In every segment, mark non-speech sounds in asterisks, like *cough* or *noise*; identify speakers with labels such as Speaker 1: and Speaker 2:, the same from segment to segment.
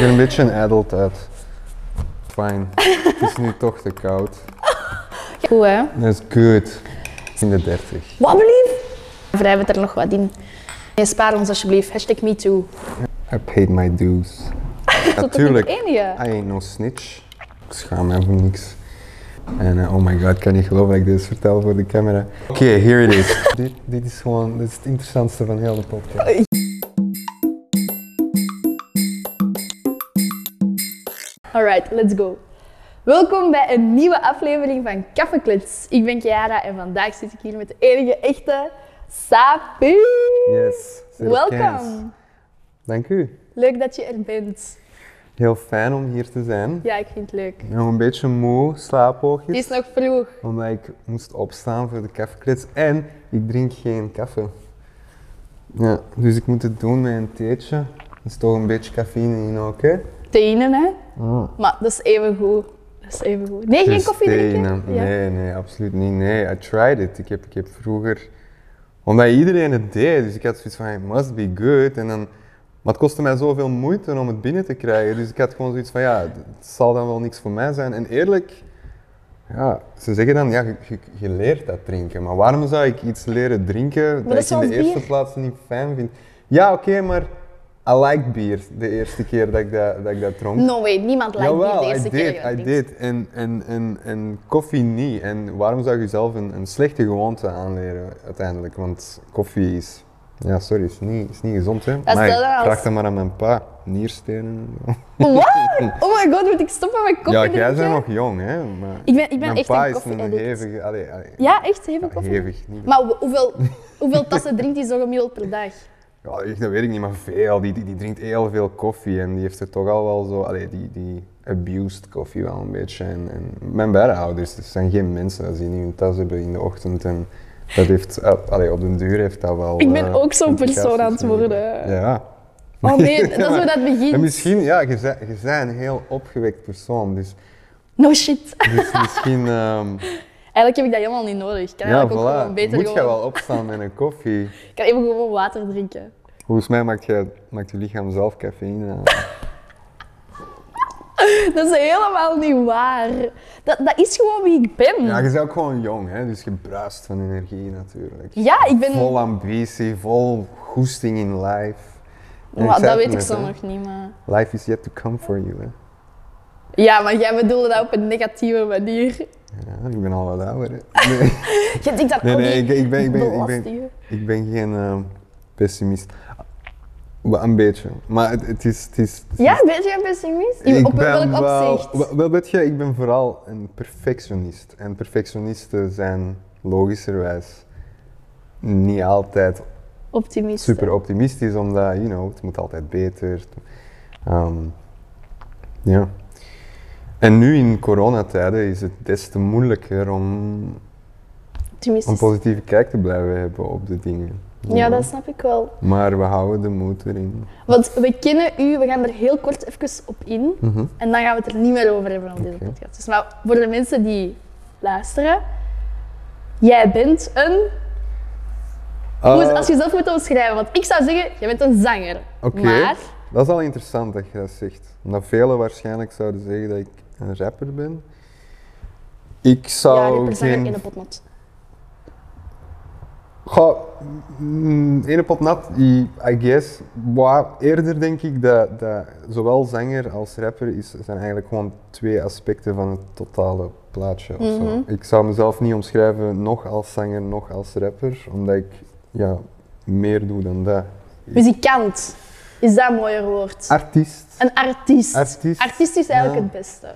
Speaker 1: er een beetje een adult uit. Fine. Het is nu toch te koud.
Speaker 2: Goed hè?
Speaker 1: Dat is good. In de 30.
Speaker 2: Wat blieft? Wrijf het er nog wat in. Nee, spaar ons alsjeblieft. Hashtag MeToo.
Speaker 1: I paid my dues. Natuurlijk.
Speaker 2: Dat is toch niet het enige?
Speaker 1: I ain't no snitch. Ik schaam me voor niks. En eh, oh my god, ik kan niet geloven dat ik dit vertel voor de camera. Oké, here it is. *laughs* dit, dit is gewoon dit is het interessantste van heel de podcast.
Speaker 2: Alright, let's go. Welkom bij een nieuwe aflevering van Kaffeklets. Ik ben Chiara en vandaag zit ik hier met de enige echte Sapi.
Speaker 1: Yes. zeer bekend.
Speaker 2: Welkom.
Speaker 1: Dank u.
Speaker 2: Leuk dat je er bent.
Speaker 1: Heel fijn om hier te zijn.
Speaker 2: Ja, ik vind het leuk.
Speaker 1: Ik ben nog een beetje moe, slaapoogjes.
Speaker 2: Het is nog vroeg.
Speaker 1: Omdat ik moest opstaan voor de kaffeeklits en ik drink geen koffie. Ja, dus ik moet het doen met een theetje. Er is toch een beetje cafeïne in ook, hè?
Speaker 2: Tenen, hè?
Speaker 1: Mm.
Speaker 2: Maar dat is even goed. Dat is even goed. Nee, geen
Speaker 1: Dus
Speaker 2: koffie drinken?
Speaker 1: thee, Nee, nee, absoluut niet. Nee, I tried it. Ik heb, ik heb vroeger... Omdat iedereen het deed, dus ik had zoiets van, it must be good. En dan... Maar het kostte mij zoveel moeite om het binnen te krijgen. Dus ik had gewoon zoiets van, ja, het zal dan wel niks voor mij zijn. En eerlijk, ja, ze zeggen dan, ja, je, je- je leert dat drinken. Maar waarom zou ik iets leren drinken
Speaker 2: dat
Speaker 1: dat
Speaker 2: is
Speaker 1: ik in de
Speaker 2: zoals
Speaker 1: eerste
Speaker 2: bier.
Speaker 1: plaats niet fijn vind? Ja, oké, maar I like bier de eerste keer dat ik dat, dat, ik dat dronk.
Speaker 2: No way, niemand lijkt me
Speaker 1: Jawel,
Speaker 2: de
Speaker 1: I
Speaker 2: eerste
Speaker 1: did,
Speaker 2: keer. dat
Speaker 1: I
Speaker 2: je dat drinkt.
Speaker 1: did. En, en, en, en koffie niet. En waarom zou je zelf een, een slechte gewoonte aanleren uiteindelijk? Want koffie is... Ja, sorry, is niet, is niet gezond, hè? Maar
Speaker 2: stel dat als-
Speaker 1: vraag dat maar aan mijn pa. Nierstenen.
Speaker 2: Wat? Oh my god, moet ik stoppen met koffie
Speaker 1: ja,
Speaker 2: drinken?
Speaker 1: jij bent nog jong, hè? Maar
Speaker 2: Ik ben- ik ben
Speaker 1: mijn
Speaker 2: echt
Speaker 1: pa
Speaker 2: een
Speaker 1: is een
Speaker 2: koffie-addict.
Speaker 1: hevige... Allee, allee,
Speaker 2: Ja, echt? Hevig
Speaker 1: ja,
Speaker 2: koffie?
Speaker 1: hevig. Niet...
Speaker 2: Maar hoe-
Speaker 1: *laughs*
Speaker 2: hoeveel, hoeveel tassen drinkt hij zo gemiddeld per dag?
Speaker 1: Ja, echt, dat weet ik niet, maar veel. Die, die, die drinkt heel veel koffie en die heeft er toch al wel zo... Allee, die, die abused koffie wel een beetje. En, en mijn beide ouders, dat zijn geen mensen als die niet hun tas hebben in de ochtend. En dat heeft... eh, Allee, op den duur heeft dat wel...
Speaker 2: Ik ben
Speaker 1: eh,
Speaker 2: ook zo'n persoon aan het
Speaker 1: implicaties.
Speaker 2: worden.
Speaker 1: Ja.
Speaker 2: Oh nee, dat is hoe dat
Speaker 1: En
Speaker 2: begint.
Speaker 1: misschien, ja, je bent, je bent een heel opgewekt persoon, dus,
Speaker 2: No shit. *laughs*
Speaker 1: dus misschien... ehm,
Speaker 2: Eigenlijk heb ik dat helemaal niet nodig. Ik kan
Speaker 1: ja,
Speaker 2: eigenlijk ook gewoon
Speaker 1: voilà.
Speaker 2: beter
Speaker 1: Moet je
Speaker 2: gewoon...
Speaker 1: wel opstaan met een koffie.
Speaker 2: Ik kan even gewoon water drinken.
Speaker 1: Volgens mij maakt je, maakt je lichaam zelf cafeïne
Speaker 2: *laughs*
Speaker 1: aan.
Speaker 2: Dat is helemaal niet waar. Dat, dat is gewoon wie ik ben.
Speaker 1: Ja, je bent ook gewoon jong, hè? dus je bruist van energie natuurlijk.
Speaker 2: Ja, ik ben...
Speaker 1: Vol ambitie, vol goesting in life. En
Speaker 2: Maar
Speaker 1: zei
Speaker 2: dat
Speaker 1: het
Speaker 2: weet ik
Speaker 1: net,
Speaker 2: zo
Speaker 1: hè.
Speaker 2: nog niet, maar...
Speaker 1: Life is yet to come for you. Hè?
Speaker 2: Ja, maar jij bedoelde dat op een negatieve manier. *laughs*
Speaker 1: Ja, ik ben al wat ouder. Hè? Nee,
Speaker 2: Je denkt dat
Speaker 1: nee,
Speaker 2: ook
Speaker 1: nee, ik,
Speaker 2: niet.
Speaker 1: ik, ben, ik, ben, ik, ben,
Speaker 2: Belasting.
Speaker 1: ik ben geen ehm, pessimist. Wel Een beetje, maar het, het is... Het is het is-
Speaker 2: Ja, ben jij pessimist? In-
Speaker 1: ik
Speaker 2: op
Speaker 1: ben
Speaker 2: welk
Speaker 1: wel,
Speaker 2: opzicht?
Speaker 1: wel- Wel weet je, ik ben vooral een perfectionist. En perfectionisten zijn logischerwijs niet altijd
Speaker 2: Optimist.
Speaker 1: super optimistisch, omdat, you know, het moet altijd beter. Ehm, ja. En nu in coronatijden is het des te moeilijker om een
Speaker 2: Optimistisch.
Speaker 1: positieve kijk te blijven hebben op de dingen. you
Speaker 2: Ja,
Speaker 1: know.
Speaker 2: dat snap ik wel.
Speaker 1: Maar we houden de moed erin.
Speaker 2: Want we kennen u, we gaan er heel kort even op in.
Speaker 1: Mhm.
Speaker 2: En dan gaan we het er niet meer over hebben op deze
Speaker 1: Oké.
Speaker 2: podcast. Dus maar voor de mensen die luisteren. Jij bent een... Hoe is-
Speaker 1: Eh,
Speaker 2: als je zelf moet omschrijven, want ik zou zeggen, jij bent een zanger.
Speaker 1: Oké.
Speaker 2: Maar,
Speaker 1: Dat is al interessant dat je dat zegt. Omdat velen waarschijnlijk zouden zeggen dat ik een rapper ben. Ik
Speaker 2: ja,
Speaker 1: zou
Speaker 2: rapper, zanger
Speaker 1: geen
Speaker 2: en een potnot.
Speaker 1: Goh, mm, ene pot nat, I I guess. Maar eerder denk ik dat, dat zowel zanger als rapper is, zijn eigenlijk gewoon twee aspecten van het totale plaatje. of zo.
Speaker 2: Mhm.
Speaker 1: Ik zou mezelf niet omschrijven nog als zanger, nog als rapper, omdat ik ja, meer doe dan dat.
Speaker 2: Muzikant. Is dat een mooier woord?
Speaker 1: Artiest.
Speaker 2: een artiest.
Speaker 1: Artiest,
Speaker 2: is eigenlijk
Speaker 1: ja.
Speaker 2: het beste.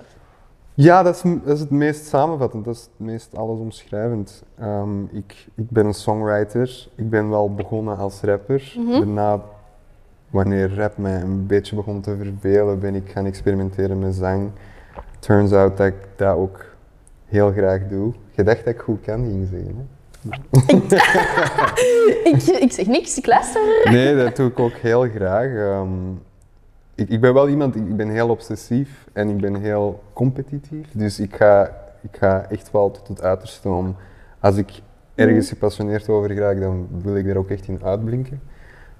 Speaker 1: Ja, dat is, m- dat is het meest samenvattend, dat is het meest allesomschrijvend. Ehm, ik, ik ben een songwriter, ik ben wel begonnen als rapper.
Speaker 2: Mhm.
Speaker 1: Daarna, wanneer rap mij een beetje begon te vervelen, ben ik gaan experimenteren met zang. Turns out dat ik dat ook heel graag doe. Je dacht dat ik goed kan, ging zeggen. Hè?
Speaker 2: ik, ik zeg niks, ik luister.
Speaker 1: Nee, dat doe ik ook heel graag. Ehm, ik, ik ben wel iemand, ik ben heel obsessief en ik ben heel competitief. Dus ik ga, ik ga echt wel tot het uiterste om. Als ik
Speaker 2: Mm.
Speaker 1: ergens gepassioneerd over raak, dan wil ik er ook echt in uitblinken.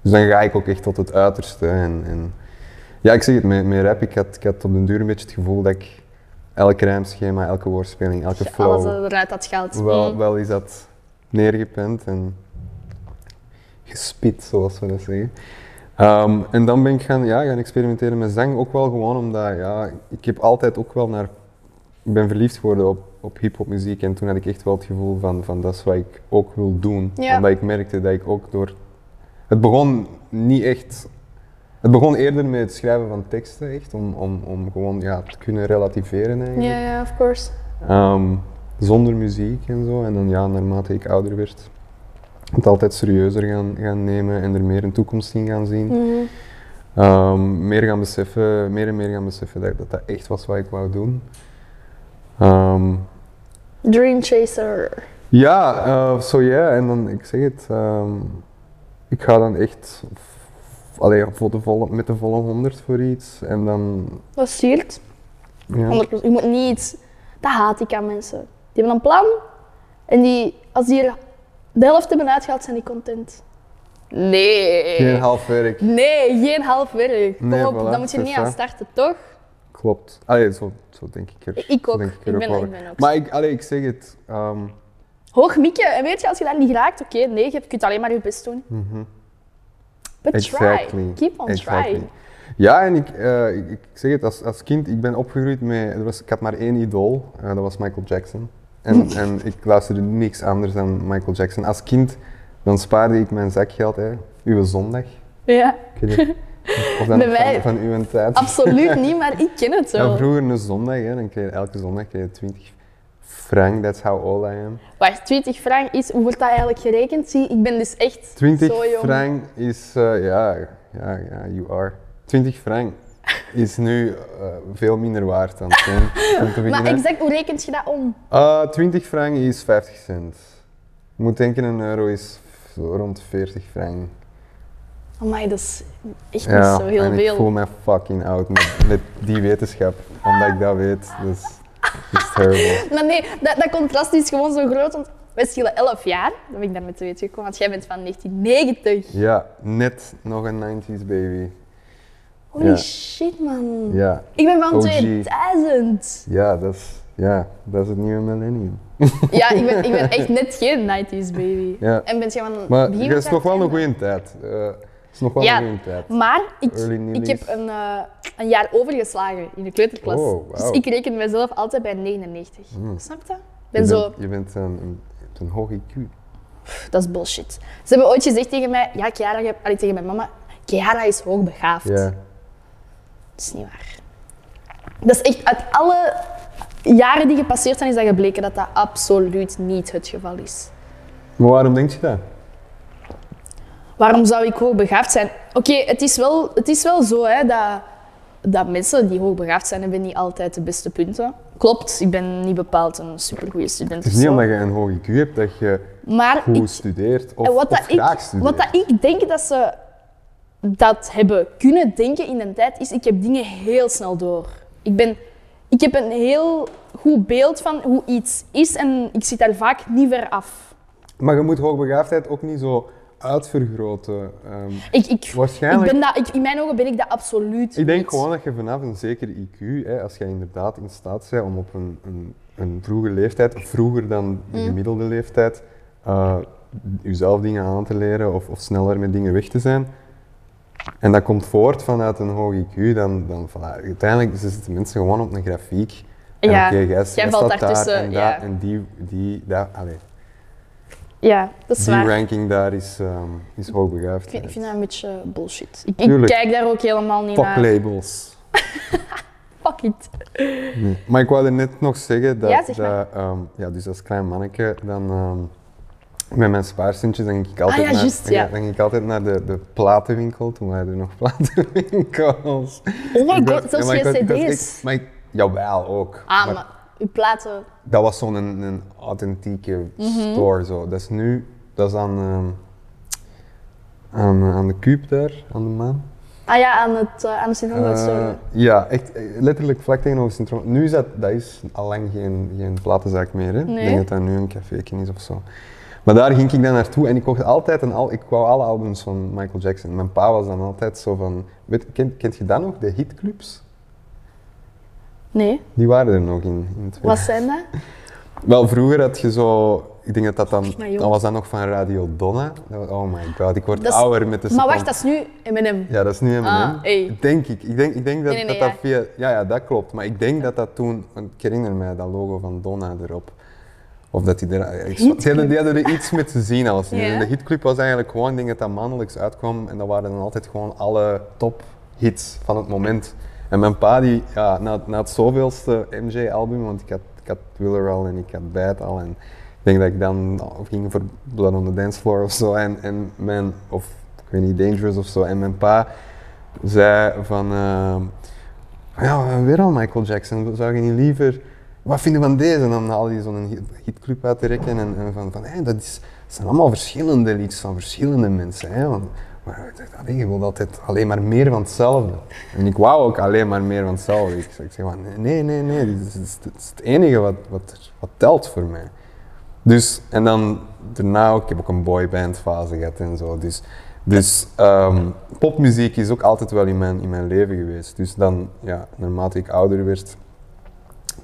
Speaker 1: Dus dan ga ik ook echt tot het uiterste. En, en Ja, ik zeg het, met, met rap, ik had, ik had op den duur een beetje het gevoel dat ik elk rijmschema, elke woordspeling, elke
Speaker 2: Je alles
Speaker 1: flow,
Speaker 2: eruit had gehaald.
Speaker 1: eh, wel,
Speaker 2: Mm.
Speaker 1: wel is dat neergepend en gespit, zoals we dat zeggen. Ehm, en dan ben ik gaan, ja, gaan experimenteren met zang, ook wel gewoon omdat, ja, ik heb altijd ook wel naar, ik ben verliefd geworden op, op hip-hop muziek en toen had ik echt wel het gevoel van, van dat is wat ik ook wil doen.
Speaker 2: Ja.
Speaker 1: Omdat ik merkte dat ik ook door, het begon niet echt, het begon eerder met het schrijven van teksten echt, om, om, om gewoon, ja, te kunnen relativeren eigenlijk.
Speaker 2: Ja, ja, of course.
Speaker 1: Ehm, zonder muziek en zo. En dan ja, naarmate ik ouder werd, het altijd serieuzer gaan, gaan nemen en er meer een toekomst in gaan zien.
Speaker 2: Mhm.
Speaker 1: Ehm, meer gaan beseffen, meer en meer gaan beseffen dat dat, dat echt was wat ik wou doen. Ehm,
Speaker 2: Dream Chaser.
Speaker 1: ja, eh, zo ja. En dan, ik zeg het, ehm, ik ga dan echt f- allee, voor de volle, met de volle 100 voor iets. En dan,
Speaker 2: Dat stuurt.
Speaker 1: ja.
Speaker 2: 100%. Je moet niet iets. Dat haat ik aan mensen. Die hebben een plan en die, als die er de helft hebben uitgehaald, zijn die content. Nee.
Speaker 1: Geen half werk.
Speaker 2: Nee, geen half werk. Kom
Speaker 1: Nee,
Speaker 2: op,
Speaker 1: voilà,
Speaker 2: dan moet je er
Speaker 1: het is
Speaker 2: niet aan
Speaker 1: dat.
Speaker 2: starten, toch?
Speaker 1: Klopt. Allee, zo, zo denk ik er.
Speaker 2: Ik
Speaker 1: zo
Speaker 2: ook.
Speaker 1: denk
Speaker 2: Ik
Speaker 1: er
Speaker 2: ben,
Speaker 1: wel
Speaker 2: ik
Speaker 1: aan.
Speaker 2: ben ook.
Speaker 1: Maar ik, allee, ik zeg het. ehm,
Speaker 2: Hoog mikken. En weet je, als je dat niet raakt, oké, nee, je kunt alleen maar je best doen.
Speaker 1: mhm,
Speaker 2: But
Speaker 1: Exactly.
Speaker 2: try. Keep on
Speaker 1: exactly.
Speaker 2: trying.
Speaker 1: Ja, en ik, eh, ik, ik zeg het, als, als kind, ik ben opgegroeid met, er was, ik had maar één idool, eh, dat was Michael Jackson.
Speaker 2: *laughs*
Speaker 1: En, en ik luisterde niks anders dan Michael Jackson. Als kind, dan spaarde ik mijn zakgeld, hè. Uwe zondag.
Speaker 2: Ja,
Speaker 1: Ik weet
Speaker 2: *laughs*
Speaker 1: niet of dat
Speaker 2: Bij
Speaker 1: nog
Speaker 2: mij-
Speaker 1: van, van uw tijd.
Speaker 2: absoluut niet, maar ik ken het
Speaker 1: Ja,
Speaker 2: wel.
Speaker 1: vroeger een zondag, hè. Dan kreeg je elke zondag kreeg je 20 frank, that's how old I am.
Speaker 2: Wacht, 20 frank is, hoe wordt dat eigenlijk gerekend? Zie, ik ben dus echt
Speaker 1: 20
Speaker 2: zo jong.
Speaker 1: frank is, eh, ja, ja, ja, you are. 20 frank is nu eh, veel minder waard dan toen.
Speaker 2: *laughs*
Speaker 1: om te
Speaker 2: Maar
Speaker 1: beginnen.
Speaker 2: exact, hoe rekent je dat om?
Speaker 1: Eh, 20 frank is 50 cent. Je moet denken, een euro is zo rond 40 frank.
Speaker 2: Amai, dat is echt
Speaker 1: Ja,
Speaker 2: niet zo heel
Speaker 1: en ik voel
Speaker 2: veel.
Speaker 1: me fucking oud met, met die wetenschap, omdat ik dat weet. Dus dat is terrible.
Speaker 2: Maar nee, dat, dat contrast is gewoon zo groot, want wij schelen 11 jaar. Dat ben ik daarmee te weten gekomen, want jij bent van 1990.
Speaker 1: Ja, net nog een 90s baby.
Speaker 2: Holy
Speaker 1: Ja.
Speaker 2: shit, man.
Speaker 1: Ja,
Speaker 2: Ik ben van
Speaker 1: OG.
Speaker 2: 2000.
Speaker 1: ja, dat is, ja, dat is het nieuwe millennium.
Speaker 2: Ja, ik ben, ik ben echt net geen 90s baby.
Speaker 1: Ja.
Speaker 2: En ben jij van
Speaker 1: Maar
Speaker 2: begin
Speaker 1: het is nog wel een
Speaker 2: 2000?
Speaker 1: goede tijd. Eh, het is nog wel
Speaker 2: Ja.
Speaker 1: een goede tijd.
Speaker 2: Maar ik,
Speaker 1: Early
Speaker 2: ik
Speaker 1: nullies.
Speaker 2: heb een, eh, een jaar overgeslagen in de kleuterklas.
Speaker 1: Oh, wauw. Hmm.
Speaker 2: Dus ik reken mezelf altijd bij 99. Snap je dat? Ik ben
Speaker 1: je
Speaker 2: zo,
Speaker 1: Bent, je bent een, een, je hebt een hoog IQ.
Speaker 2: pff, dat is bullshit. Ze hebben ooit gezegd tegen mij, ja, Chiara, je hebt- allee, tegen mijn mama, Chiara is hoogbegaafd.
Speaker 1: Ja.
Speaker 2: Dat is niet waar. Dat is echt, uit alle jaren die gepasseerd zijn, is dat gebleken dat dat absoluut niet het geval is.
Speaker 1: Maar waarom denk je dat?
Speaker 2: Waarom zou ik hoogbegaafd zijn? Oké, het, is wel, het is wel zo hè, dat, dat mensen die hoogbegaafd zijn, hebben niet altijd de beste punten. Klopt, ik ben niet bepaald een supergoeie student.
Speaker 1: Het is
Speaker 2: of
Speaker 1: niet
Speaker 2: zo.
Speaker 1: omdat je een hoog IQ hebt dat je
Speaker 2: Maar
Speaker 1: goed
Speaker 2: ik,
Speaker 1: studeert of,
Speaker 2: en wat,
Speaker 1: of
Speaker 2: dat ik,
Speaker 1: graag studeert.
Speaker 2: wat dat ik denk dat ze dat hebben kunnen denken in een tijd, is ik heb dingen heel snel door. Ik, ben, ik heb een heel goed beeld van hoe iets is en ik zit daar vaak niet ver af.
Speaker 1: Maar je moet hoogbegaafdheid ook niet zo uitvergroten. Ehm,
Speaker 2: Ik, ik, ik
Speaker 1: waarschijnlijk. Ik,
Speaker 2: ben dat, ik, in mijn ogen ben ik dat absoluut
Speaker 1: denk
Speaker 2: niet.
Speaker 1: gewoon dat je vanaf een zeker IQ, hè, als jij inderdaad in staat bent om op een, een, een vroege leeftijd, vroeger dan
Speaker 2: Mm.
Speaker 1: de gemiddelde leeftijd, eh, jezelf dingen aan te leren of, of sneller met dingen weg te zijn. En dat komt voort vanuit een hoog IQ, dan, dan voilà. uiteindelijk zitten mensen gewoon op een grafiek. En
Speaker 2: Ja,
Speaker 1: oké, jij, jij
Speaker 2: jij valt
Speaker 1: staat daar
Speaker 2: daartussen,
Speaker 1: en daar
Speaker 2: ja.
Speaker 1: en die, die, daar, allee,
Speaker 2: Ja, dat is
Speaker 1: die
Speaker 2: waar.
Speaker 1: ranking daar is, ehm is hoogbegaafd.
Speaker 2: Ik vind, ik vind dat een beetje eh, bullshit. Ik, ik
Speaker 1: Tuurlijk.
Speaker 2: kijk daar ook helemaal niet
Speaker 1: Fuck
Speaker 2: naar.
Speaker 1: labels.
Speaker 2: Fuck it.
Speaker 1: Maar ik wilde net nog zeggen dat,
Speaker 2: Ja, zeg maar.
Speaker 1: dat ehm, ja, dus als klein manneke, dan ehm, met mijn spaarcentjes, dan ging ik altijd
Speaker 2: Ah ja,
Speaker 1: naar,
Speaker 2: juist, ja.
Speaker 1: dan ging ik altijd naar de, de platenwinkel. Toen waren er nog *laughs* platenwinkels.
Speaker 2: Oh my
Speaker 1: Ik was-
Speaker 2: god, zelfs
Speaker 1: ja, maar ik
Speaker 2: geen
Speaker 1: was- ik was
Speaker 2: cd's.
Speaker 1: echt- Maar ik, jawel, ook.
Speaker 2: Ah,
Speaker 1: Maar
Speaker 2: maar uw platen...
Speaker 1: dat was zo'n een, een authentieke
Speaker 2: Mhm.
Speaker 1: store. Zo. Dat is nu, dat is aan, ehm, aan, aan de Cube daar, aan de maan.
Speaker 2: Ah ja, aan, het, eh, aan de sint
Speaker 1: Eh, ja, echt eh, letterlijk vlak tegenover Sint-Roland. Nu is dat, dat is allang geen, geen platenzaak meer. Hè?
Speaker 2: Nee.
Speaker 1: Ik denk dat dat nu een cafeetje is of zo. Maar daar ging ik dan naartoe en ik kocht altijd een al. Ik wou alle albums van Michael Jackson. Mijn pa was dan altijd zo van: Weet, kent, kent je dat nog, de hitclubs?
Speaker 2: Nee,
Speaker 1: Die waren er nog in, in het
Speaker 2: wat zijn dat?
Speaker 1: Wel, vroeger had je zo... Ik denk dat dat dan...
Speaker 2: Maar joh.
Speaker 1: Dan was dat nog van Radio Donna. Dat was- oh my god, ik word
Speaker 2: Dat is-
Speaker 1: ouder met de
Speaker 2: Maar wacht,
Speaker 1: seconde.
Speaker 2: dat is nu M&M.
Speaker 1: Ja, dat is nu M&M.
Speaker 2: Ah, hey.
Speaker 1: Denk ik. Ik denk, ik denk dat
Speaker 2: Nee,
Speaker 1: dat,
Speaker 2: nee, nee,
Speaker 1: dat via... Ja, ja, dat klopt. Maar ik denk dat dat toen... want Ik herinner mij dat logo van Donna erop. Of dat die er... ik- Die hadden, die hadden er iets mee te zien als nu.
Speaker 2: Ja.
Speaker 1: En De hitclub was eigenlijk gewoon... Ik denk dat dat maandelijks uitkwam. En dat waren dan altijd gewoon alle tophits van het moment. En mijn pa, die, ja, na, na het zoveelste MJ-album... Want ik had, ik had Thriller al en ik had Bad al. En ik denk dat ik dan ging voor Blood on the Dance Floor of zo. En, en mijn... Of ik weet niet, Dangerous of zo. En mijn pa zei van... ehm, ja, weer al Michael Jackson. Zou je niet liever... Wat vinden van deze? En dan haalde hij zo'n hit- hitclub uit te rekken. En, en van, van hé, dat is, het zijn allemaal verschillende liedjes van verschillende mensen. Hè? Want, maar ik dacht, allee, je wilt altijd alleen maar meer van hetzelfde. En ik wou ook alleen maar meer van hetzelfde. Ik, zeg- ik zeg van, nee, nee, nee. Dit is, dit is- dit is het enige wat, wat, er- wat telt voor mij. Dus, en dan daarna ook, ik heb ook een boyband fase gehad en zo. Dus, dus ehm, popmuziek is ook altijd wel in mijn, in mijn leven geweest. Dus dan, ja, naarmate ik ouder werd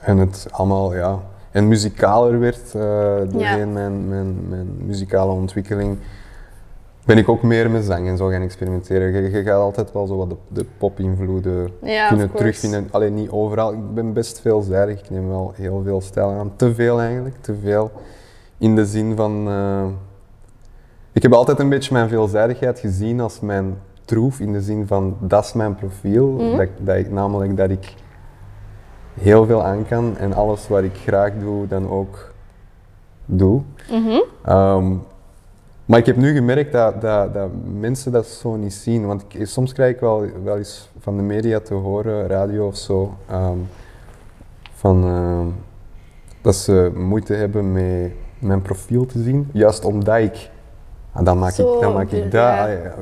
Speaker 1: en het allemaal, ja, en muzikaler werd eh doorheen mijn, mijn, mijn muzikale ontwikkeling, ben ik ook meer met zang en zo gaan experimenteren. Je, je gaat altijd wel zo wat de, de pop-invloeden
Speaker 2: Ja, of
Speaker 1: kunnen
Speaker 2: course.
Speaker 1: terugvinden. Alleen niet overal. Ik ben best veelzijdig. Ik neem wel heel veel stijlen aan. Te veel eigenlijk. Te veel. In de zin van. eh, ik heb altijd een beetje mijn veelzijdigheid gezien als mijn troef. In de zin van dat is mijn profiel.
Speaker 2: Mhm.
Speaker 1: dat, ik- dat ik, namelijk dat ik heel veel aan kan en alles wat ik graag doe, dan ook doe.
Speaker 2: Mhm.
Speaker 1: Ehm, maar ik heb nu gemerkt dat, dat, dat mensen dat zo niet zien. Want ik, soms krijg ik wel, wel eens van de media te horen, radio of zo, ehm, van, ehm, dat ze moeite hebben met mijn profiel te zien. Juist omdat ik, ah, dan maak
Speaker 2: Zo,
Speaker 1: ik, dan maak ik
Speaker 2: de-
Speaker 1: dat.
Speaker 2: ja.
Speaker 1: Ah, ja,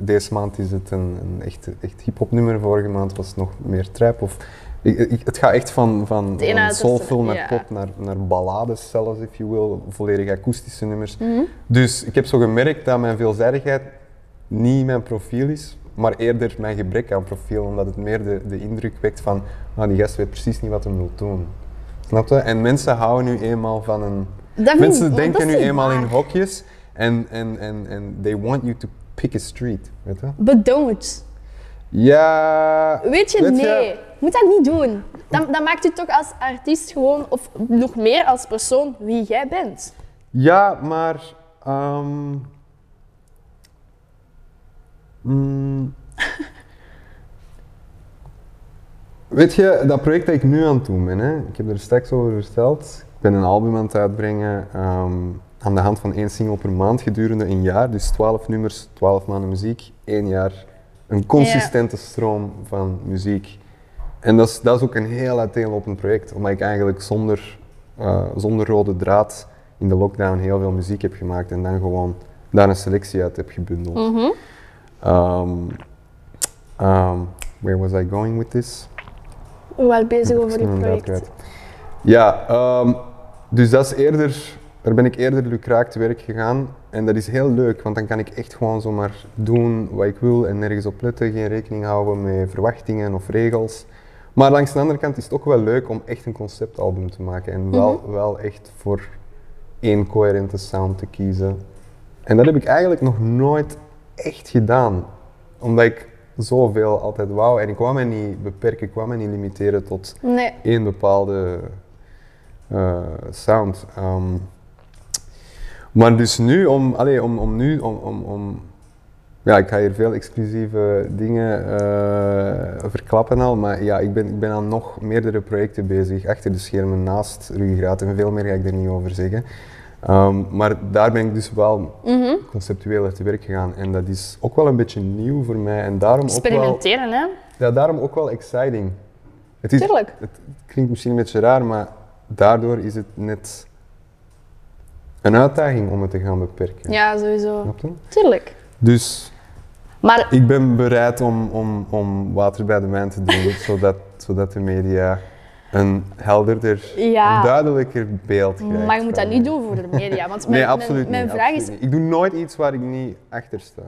Speaker 1: Deze maand is het een, een echt, echt hip-hop nummer, vorige maand was het nog meer trap. Of, ik, ik- het gaat echt van, van,
Speaker 2: Het een
Speaker 1: van
Speaker 2: uit het andere,
Speaker 1: soulful naar
Speaker 2: ja.
Speaker 1: pop naar, naar ballades zelfs, if you will, volledig akoestische nummers.
Speaker 2: Mhm.
Speaker 1: Dus ik heb zo gemerkt dat mijn veelzijdigheid niet mijn profiel is, maar eerder mijn gebrek aan profiel, omdat het meer de, de indruk wekt van ah, die gast weet precies niet wat hij wil doen. Snap je? En mensen houden nu eenmaal van een...
Speaker 2: Dat vind ik-
Speaker 1: mensen
Speaker 2: maar dat
Speaker 1: denken
Speaker 2: is
Speaker 1: nu
Speaker 2: niet
Speaker 1: eenmaal in
Speaker 2: waar.
Speaker 1: hokjes en, en, en, en they want you to pick a street, weet je?
Speaker 2: But don't.
Speaker 1: Ja...
Speaker 2: Weet je,
Speaker 1: Weet je-
Speaker 2: nee. Moet dat niet doen. Dan, dan maakt u toch als artiest gewoon, of nog meer als persoon, wie jij bent.
Speaker 1: Ja, maar. ehm, mm, *laughs* weet je, dat project dat ik nu aan het doen ben, hè, ik heb er straks over verteld. Ik ben een album aan het uitbrengen ehm, aan de hand van één single per maand gedurende een jaar. Dus 12 nummers, 12 maanden muziek, één jaar. Een consistente stroom van muziek. En dat is, dat is ook een heel uiteenlopend project, omdat ik eigenlijk zonder, eh, zonder rode draad in de lockdown heel veel muziek heb gemaakt en dan gewoon daar een selectie uit heb gebundeld.
Speaker 2: Mhm.
Speaker 1: Ehm, ehm, where was I going with this?
Speaker 2: We waren bezig
Speaker 1: Ik ben
Speaker 2: over dit
Speaker 1: mijn draad
Speaker 2: project.
Speaker 1: kwijt. Hmm, Ja, ehm, dus dat is eerder, daar ben ik eerder lucraak te werk gegaan. En dat is heel leuk, want dan kan ik echt gewoon zomaar doen wat ik wil en nergens op letten, geen rekening houden met verwachtingen of regels. Maar langs de andere kant is het ook wel leuk om echt een conceptalbum te maken en wel,
Speaker 2: Mhm.
Speaker 1: wel echt voor één coherente sound te kiezen. En dat heb ik eigenlijk nog nooit echt gedaan, omdat ik zoveel altijd wou en ik wou me niet beperken, ik wou me niet limiteren tot
Speaker 2: Nee.
Speaker 1: één bepaalde eh, sound. Ehm, maar dus nu, om, allee, om, om nu, om, om, om, ja, ik ga hier veel exclusieve dingen eh, verklappen al, maar ja, ik ben, ik ben aan nog meerdere projecten bezig, achter de schermen, naast Ruggengraat en veel meer ga ik er niet over zeggen. Ehm, maar daar ben ik dus wel
Speaker 2: Mhm.
Speaker 1: conceptueel te werk gegaan en dat is ook wel een beetje nieuw voor mij en daarom ook wel,
Speaker 2: Experimenteren, hè?
Speaker 1: ja, daarom ook wel exciting. Het is,
Speaker 2: Tuurlijk.
Speaker 1: het klinkt misschien een beetje raar, maar daardoor is het net een uitdaging om het te gaan beperken.
Speaker 2: Ja, sowieso.
Speaker 1: Snap je?
Speaker 2: Tuurlijk.
Speaker 1: Dus
Speaker 2: Maar
Speaker 1: ik ben bereid om, om, om water bij de wijn te *laughs* doen, zodat, zodat de media een helderder, een
Speaker 2: ja,
Speaker 1: duidelijker beeld krijgt.
Speaker 2: maar je moet dat
Speaker 1: van
Speaker 2: niet
Speaker 1: mij.
Speaker 2: doen
Speaker 1: *laughs*
Speaker 2: voor de media. Want mijn,
Speaker 1: Nee,
Speaker 2: mijn-
Speaker 1: absoluut
Speaker 2: mijn
Speaker 1: niet.
Speaker 2: vraag
Speaker 1: absoluut
Speaker 2: is...
Speaker 1: niet. Ik doe nooit iets waar ik niet achter sta.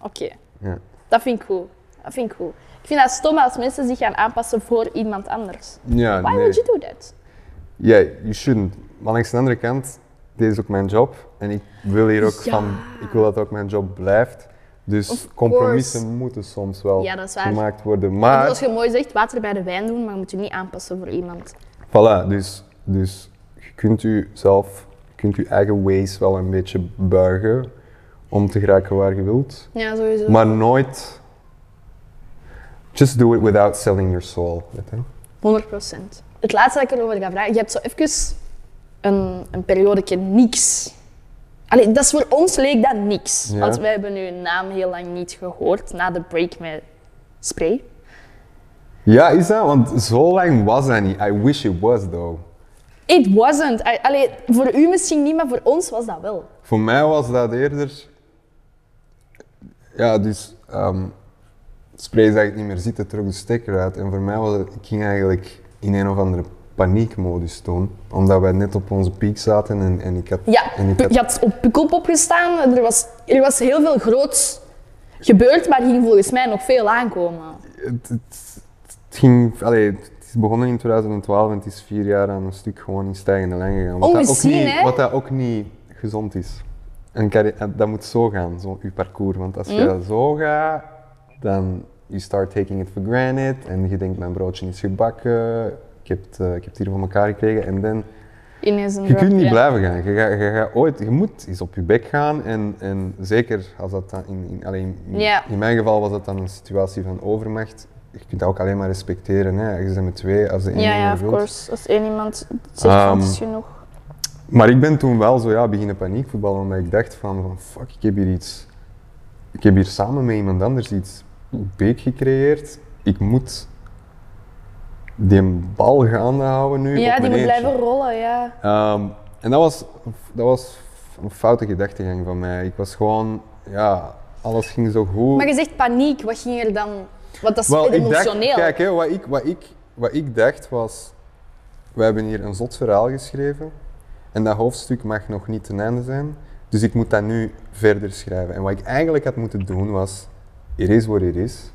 Speaker 2: Oké,
Speaker 1: Ja.
Speaker 2: dat vind ik goed. Dat vind ik goed. Ik vind dat stom als mensen zich gaan aanpassen voor iemand anders.
Speaker 1: Ja,
Speaker 2: Why
Speaker 1: nee.
Speaker 2: would you do that?
Speaker 1: Ja, you shouldn't. Maar langs de andere kant, dit is ook mijn job. En ik wil hier ook
Speaker 2: Ja.
Speaker 1: van, ik wil dat ook mijn job blijft. Dus
Speaker 2: Of
Speaker 1: compromissen
Speaker 2: course.
Speaker 1: moeten soms wel
Speaker 2: Ja, dat is waar.
Speaker 1: gemaakt worden.
Speaker 2: Want
Speaker 1: Maar,
Speaker 2: Zoals je mooi zegt, water bij de wijn doen, maar je moet je niet aanpassen voor iemand.
Speaker 1: voilà, dus, dus je kunt u zelf, je kunt je eigen ways wel een beetje buigen om te geraken waar je wilt.
Speaker 2: Ja, sowieso.
Speaker 1: Maar nooit, just do it without selling your soul. weet je.
Speaker 2: 100%. Het laatste dat ik erover ga vragen, je hebt zo even een, een periodeke niks. Allee, dat is voor ons leek dat niks.
Speaker 1: Ja.
Speaker 2: Want wij hebben nu een naam heel lang niet gehoord na de break met Spray.
Speaker 1: Ja, is dat? Want zo lang was dat niet. I wish it was though.
Speaker 2: It wasn't. I- Allee, voor u misschien niet, maar voor ons was dat wel.
Speaker 1: Voor mij was dat eerder. Ja, dus. ehm spray zag ik niet meer zitten, trok de stekker uit. En voor mij was het. Ik ging eigenlijk in een of andere paniekmodus toen. Omdat wij net op onze piek zaten en, en ik had.
Speaker 2: Ja,
Speaker 1: en ik
Speaker 2: pu-
Speaker 1: had-
Speaker 2: je had op Pukkelpop gestaan. Er was, er was heel veel groots gebeurd, maar er ging volgens mij nog veel aankomen.
Speaker 1: het, het- het ging. Allee, het is begonnen in 2012 en het is vier jaar aan een stuk gewoon in stijgende lijn gegaan. Wat, dat, ook
Speaker 2: Ongezien,
Speaker 1: niet,
Speaker 2: hè?
Speaker 1: wat dat ook niet gezond is. Een carri- eh, dat moet zo gaan, zo, je parcours. Want als je zo gaat, dan you start taking it for granted. En je denkt, mijn broodje is gebakken. Ik heb het, eh, ik heb het hier voor elkaar gekregen. En dan,
Speaker 2: Ineens een
Speaker 1: je kunt niet
Speaker 2: ja.
Speaker 1: blijven gaan. Je, gaat- je, gaat ooit, je moet eens op je bek gaan. En, en zeker als dat dan in, in, alleen in,
Speaker 2: Ja.
Speaker 1: in mijn geval was dat dan een situatie van overmacht. Je kunt dat ook alleen maar respecteren. Hè. Je bent met twee als de ene
Speaker 2: Ja, ja,
Speaker 1: meer
Speaker 2: of
Speaker 1: wilt.
Speaker 2: course. Als één iemand zegt,
Speaker 1: Ehm,
Speaker 2: dat is genoeg.
Speaker 1: Maar ik ben toen wel zo ja, beginnen paniekvoetballen, omdat ik dacht van, van fuck, ik heb hier iets... Ik heb hier samen met iemand anders iets beek gecreëerd. Ik moet die bal gaande houden nu
Speaker 2: Ja,
Speaker 1: op
Speaker 2: die
Speaker 1: mijn
Speaker 2: moet
Speaker 1: eentje.
Speaker 2: blijven rollen, ja.
Speaker 1: Ehm, en dat was, dat was een foute gedachtegang van mij. Ik was gewoon, ja, alles ging zo goed.
Speaker 2: Maar je zegt paniek, wat ging er dan... Want dat is
Speaker 1: Wel, ik dacht,
Speaker 2: emotioneel.
Speaker 1: kijk, hè, wat, ik, wat, ik, wat ik dacht was, we hebben hier een zot verhaal geschreven en dat hoofdstuk mag nog niet ten einde zijn, dus ik moet dat nu verder schrijven. En wat ik eigenlijk had moeten doen was, it is what it is.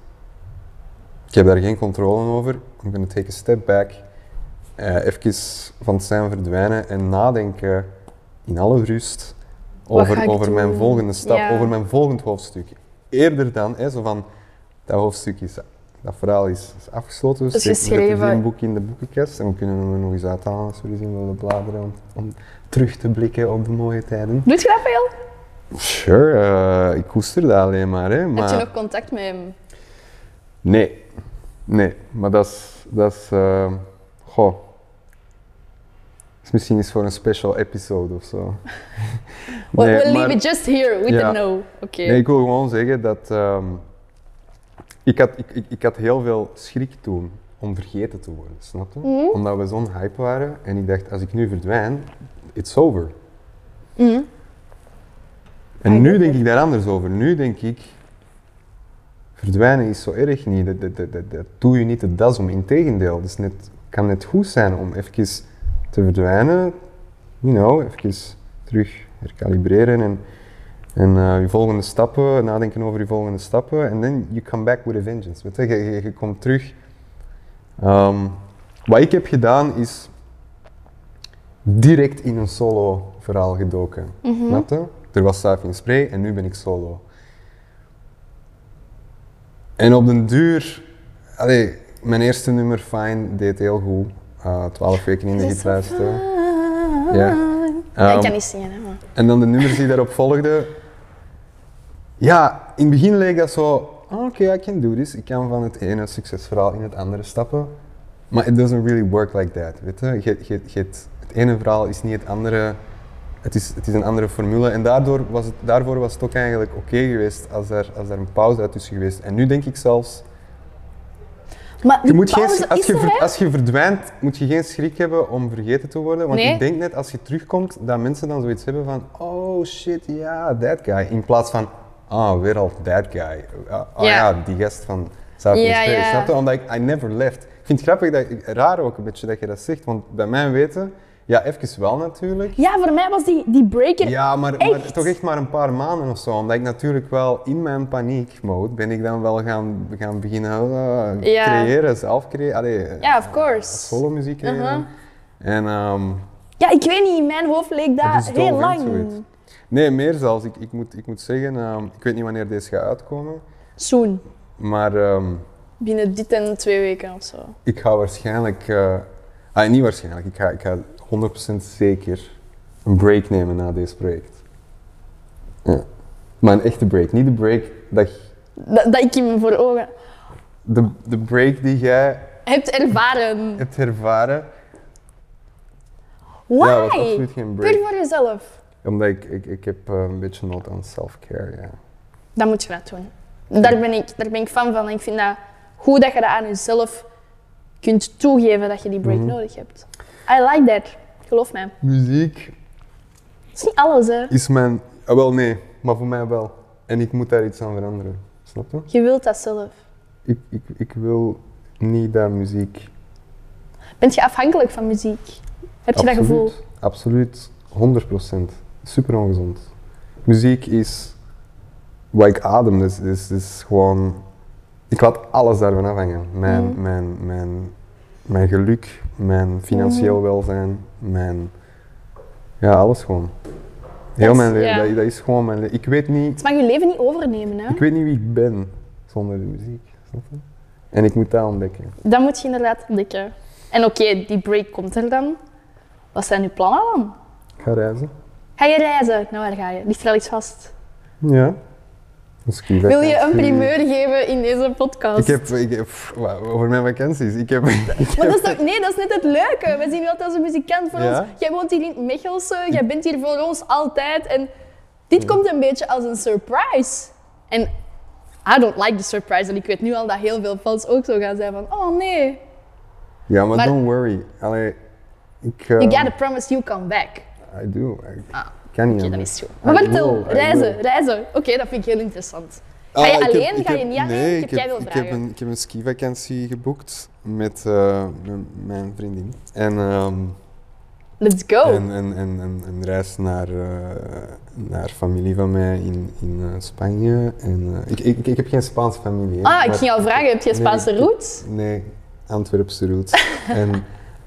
Speaker 1: Ik heb daar geen controle over. I'm gonna take a step back. eh even van het zijn verdwijnen en nadenken in alle rust
Speaker 2: Wat ga
Speaker 1: over,
Speaker 2: ik
Speaker 1: over mijn
Speaker 2: doen?
Speaker 1: volgende stap,
Speaker 2: Ja.
Speaker 1: over mijn volgend hoofdstuk. Eerder dan, hè, zo van, dat hoofdstuk is, dat verhaal is, is afgesloten. Dus
Speaker 2: Is
Speaker 1: zet- zet
Speaker 2: geschreven.
Speaker 1: een boek in de boekenkast en we kunnen hem er nog eens uithalen als we er eens in willen bladeren om, om terug te blikken op de mooie tijden.
Speaker 2: Doet je dat veel?
Speaker 1: Sure, eh, ik koester dat alleen maar. Hè, maar...
Speaker 2: Heb je nog contact met hem?
Speaker 1: Nee. Nee, maar dat is. Dat is eh, goh. Dat is misschien iets voor een special episode of zo.
Speaker 2: We
Speaker 1: Nee,
Speaker 2: we'll
Speaker 1: maar-
Speaker 2: leave it just here, we
Speaker 1: Ja.
Speaker 2: don't know. Oké.
Speaker 1: Nee, ik wil gewoon zeggen dat. ehm, ik, had, ik, ik, ik had heel veel schrik toen om vergeten te worden, snap je? Omdat we zo'n hype waren en ik dacht, als ik nu verdwijn, it's over.
Speaker 2: Mhm.
Speaker 1: Nou, En
Speaker 2: I
Speaker 1: nu
Speaker 2: get
Speaker 1: denk ik daar anders over. Nu denk ik, verdwijnen is zo erg niet. Dat, dat, dat, dat, dat doe je niet de das om. Integendeel, het is net, kan net goed zijn om even te verdwijnen. You know, even terug herkalibreren en, en eh, je volgende stappen, nadenken over je volgende stappen. En then you come back with a vengeance. Weet je, je, je- je komt terug. Ehm, wat ik heb gedaan is direct in een solo verhaal gedoken.
Speaker 2: Mhm.
Speaker 1: Snap je? Er was Safi in Spray en nu ben ik solo. En op den duur, allee, mijn eerste nummer Fine deed heel goed. Eh 12 weken in de
Speaker 2: Just so
Speaker 1: hitlijsten.
Speaker 2: fine.
Speaker 1: Ja.
Speaker 2: Ja, ik
Speaker 1: Ehm,
Speaker 2: kan niet zingen, hè, maar...
Speaker 1: en dan de nummers die daarop volgden. Ja, in het begin leek dat zo. oh, Oké, I can do this. Ik kan van het ene succesverhaal in het andere stappen. Maar it doesn't really work like that. Weet je? Je, je, je- het, het ene verhaal is niet het andere. Het is, het is een andere formule. En daardoor was het, daarvoor was het ook eigenlijk oké geweest als er, als er een pauze uit tussen geweest. En nu denk ik zelfs.
Speaker 2: Maar
Speaker 1: Je
Speaker 2: die
Speaker 1: moet geen,
Speaker 2: pauze
Speaker 1: als,
Speaker 2: is
Speaker 1: je
Speaker 2: er,
Speaker 1: ver-
Speaker 2: hè?
Speaker 1: als je verdwijnt, moet je geen schrik hebben om vergeten te worden. Want
Speaker 2: Nee.
Speaker 1: ik denk net als je terugkomt, dat mensen dan zoiets hebben van: oh shit, ja, that guy. In plaats van: ah, weer al that guy. Ah, ah
Speaker 2: Ja.
Speaker 1: ja. die gast van South
Speaker 2: Ja,
Speaker 1: East Bay.
Speaker 2: ja.
Speaker 1: Snap je? Omdat ik I never left. Ik vind het grappig, dat, raar ook een beetje dat je dat zegt, want bij mijn weten Ja, even wel natuurlijk.
Speaker 2: Ja, voor mij was die, die breaker...
Speaker 1: Ja, maar, maar
Speaker 2: Echt?
Speaker 1: toch echt maar een paar maanden of zo. Omdat ik natuurlijk wel in mijn paniekmode ben ik dan wel gaan, gaan beginnen eh,
Speaker 2: Ja.
Speaker 1: creëren, zelf creëren. Allee, eh,
Speaker 2: Ja, of course.
Speaker 1: solo muziek creëren.
Speaker 2: Uh-huh.
Speaker 1: En ehm,
Speaker 2: Ja, ik weet niet, in mijn hoofd leek dat,
Speaker 1: dat is
Speaker 2: heel
Speaker 1: dol, hè,
Speaker 2: lang.
Speaker 1: zoiets. Nee, meer zelfs. Ik, ik, moet, ik moet zeggen, ehm, ik weet niet wanneer deze gaat uitkomen.
Speaker 2: Soon.
Speaker 1: Maar ehm,
Speaker 2: Binnen dit en twee weken of zo.
Speaker 1: ik ga waarschijnlijk... eh, ah, niet waarschijnlijk. Ik ga, ik ga 100% zeker een break nemen na dit project. Ja. Maar een echte break. Niet de break dat... je-
Speaker 2: Dat, dat ik hem voor ogen
Speaker 1: De, de break die jij
Speaker 2: hebt ervaren.
Speaker 1: hebt ervaren,
Speaker 2: Why?
Speaker 1: ja, was absoluut geen
Speaker 2: Puur
Speaker 1: break.
Speaker 2: voor jezelf.
Speaker 1: Omdat ik, ik, ik heb eh, een beetje nood aan self-care, ja.
Speaker 2: Dat moet je dat doen. Daar ben ik, daar ben ik fan van. En ik vind dat goed dat je dat aan jezelf kunt toegeven dat je die break
Speaker 1: Mhm.
Speaker 2: nodig hebt. I like that. Geloof mij.
Speaker 1: Muziek
Speaker 2: Dat is niet alles, hè.
Speaker 1: is mijn... ah, wel, nee. Maar voor mij wel. En ik moet daar iets aan veranderen. Snap je?
Speaker 2: Je wilt dat zelf.
Speaker 1: Ik, ik, ik wil niet dat muziek...
Speaker 2: Bent je afhankelijk van muziek? Heb je dat gevoel?
Speaker 1: Absoluut. 100%. Super ongezond. Muziek is wat ik adem. Dus is dus, dus gewoon... Ik laat alles daarvan afhangen. Mijn,
Speaker 2: Mhm.
Speaker 1: mijn, mijn, mijn geluk, mijn financieel
Speaker 2: Mhm.
Speaker 1: welzijn, mijn... Ja, alles gewoon. Heel
Speaker 2: Dat is-
Speaker 1: mijn leven.
Speaker 2: ja.
Speaker 1: Dat, dat is gewoon mijn leven. Ik weet niet...
Speaker 2: Het mag je leven niet overnemen, hè.
Speaker 1: Ik weet niet wie ik ben zonder de muziek. Snap je? En ik moet dat ontdekken.
Speaker 2: Dat moet je inderdaad ontdekken. En oké, die break komt er dan. Wat zijn je plannen dan?
Speaker 1: Ik ga reizen.
Speaker 2: Ga je reizen? Nou, waar ga je? Ligt er al iets vast?
Speaker 1: Ja. Misschien
Speaker 2: Wil je een primeur geven in deze podcast?
Speaker 1: Ik heb, ik heb pff, wauw, over mijn vakanties. Ik
Speaker 2: *laughs*
Speaker 1: heb, ik
Speaker 2: Maar
Speaker 1: heb
Speaker 2: dat is toch- nee, dat is net het leuke. We zien je altijd als een muzikant voor
Speaker 1: Ja?
Speaker 2: ons. Jij woont hier in Mechelse, jij bent hier voor ons altijd. En dit komt een beetje als een surprise. En I don't like the surprise. En ik weet nu al dat heel veel fans ook zo gaan zijn van, oh nee,
Speaker 1: ja, maar,
Speaker 2: maar-
Speaker 1: don't worry. Allee, ik, eh,
Speaker 2: you gotta promise you come back.
Speaker 1: I do. Ik
Speaker 2: Ah,
Speaker 1: kan niet
Speaker 2: Oké, dat
Speaker 1: anders.
Speaker 2: is zo. Maar
Speaker 1: I
Speaker 2: vertel,
Speaker 1: will, I
Speaker 2: reizen,
Speaker 1: will.
Speaker 2: reizen. Oké, dat vind ik heel interessant.
Speaker 1: Ah,
Speaker 2: Ga je
Speaker 1: ik heb-
Speaker 2: alleen?
Speaker 1: ik
Speaker 2: Ga je
Speaker 1: heb-
Speaker 2: niet alleen?
Speaker 1: Nee,
Speaker 2: Ik
Speaker 1: ik
Speaker 2: heb
Speaker 1: heb,
Speaker 2: jij veel
Speaker 1: ik heb
Speaker 2: vragen.
Speaker 1: een, ik heb een skivakantie geboekt met eh, m- mijn vriendin. En, ehm,
Speaker 2: Let's go.
Speaker 1: en, en, en, en een reis naar, eh, naar familie van mij in, in eh, Spanje. En, eh, ik, ik, ik heb geen Spaanse familie. hè,
Speaker 2: ah, ik
Speaker 1: maar-
Speaker 2: ging jou vragen, heb je
Speaker 1: Nee,
Speaker 2: Spaanse
Speaker 1: ik-
Speaker 2: roots?
Speaker 1: Nee, Antwerpse roots.
Speaker 2: *laughs*
Speaker 1: en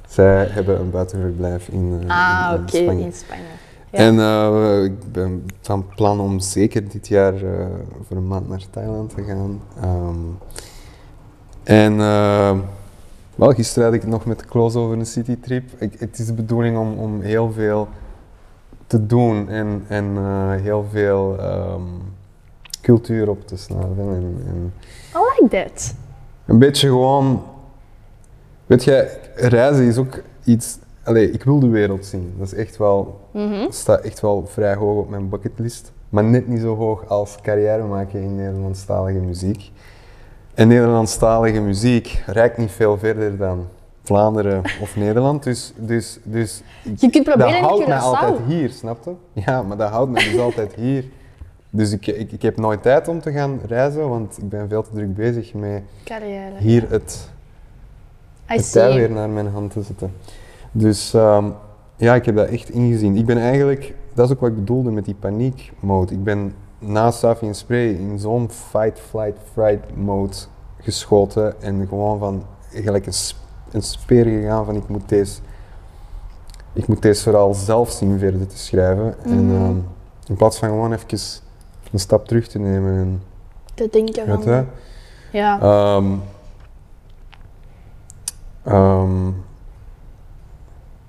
Speaker 1: zij hebben een buitenverblijf in, eh, in-
Speaker 2: Ah,
Speaker 1: in
Speaker 2: oké,
Speaker 1: Spanje.
Speaker 2: in Spanje. Ja.
Speaker 1: En eh, ik ben van plan om zeker dit jaar eh, voor een maand naar Thailand te gaan. Ehm, en eh, wel, gisteren had ik het nog met Kloos over een citytrip. Ik, het is de bedoeling om, om heel veel te doen en, en eh, heel veel ehm, cultuur op te snappen. En, en
Speaker 2: I like that.
Speaker 1: een beetje gewoon. Weet jij, reizen is ook iets. Allee, ik wil de wereld zien. Dat is echt wel
Speaker 2: Mhm.
Speaker 1: staat echt wel vrij hoog op mijn bucketlist. Maar net niet zo hoog als carrière maken in Nederlandstalige muziek. En Nederlandstalige muziek reikt niet veel verder dan Vlaanderen of *laughs* Nederland. Dus, dus, dus
Speaker 2: Je kunt
Speaker 1: dat
Speaker 2: proberen in
Speaker 1: houdt mij
Speaker 2: Curaçao.
Speaker 1: altijd hier, snap je? Ja, maar dat houdt mij
Speaker 2: *laughs*
Speaker 1: dus altijd hier. Dus ik, ik, ik heb nooit tijd om te gaan reizen, want ik ben veel te druk bezig met
Speaker 2: Carrière.
Speaker 1: hier het
Speaker 2: I
Speaker 1: het tij
Speaker 2: see.
Speaker 1: weer naar mijn hand te zetten. Dus ehm, ja, ik heb dat echt ingezien. Ik ben eigenlijk, dat is ook wat ik bedoelde met die paniekmode. Ik ben na Safi en Spray in zo'n fight, flight, fright mode geschoten en gewoon van gelijk een, sp- een speer gegaan van ik moet deze, ik moet deze vooral zelf zien verder te schrijven. En
Speaker 2: Mhm.
Speaker 1: ehm, in plaats van gewoon even een stap terug te nemen en
Speaker 2: Te denken
Speaker 1: weet je,
Speaker 2: van.
Speaker 3: Ah.
Speaker 2: Ja.
Speaker 1: Ehm, ehm,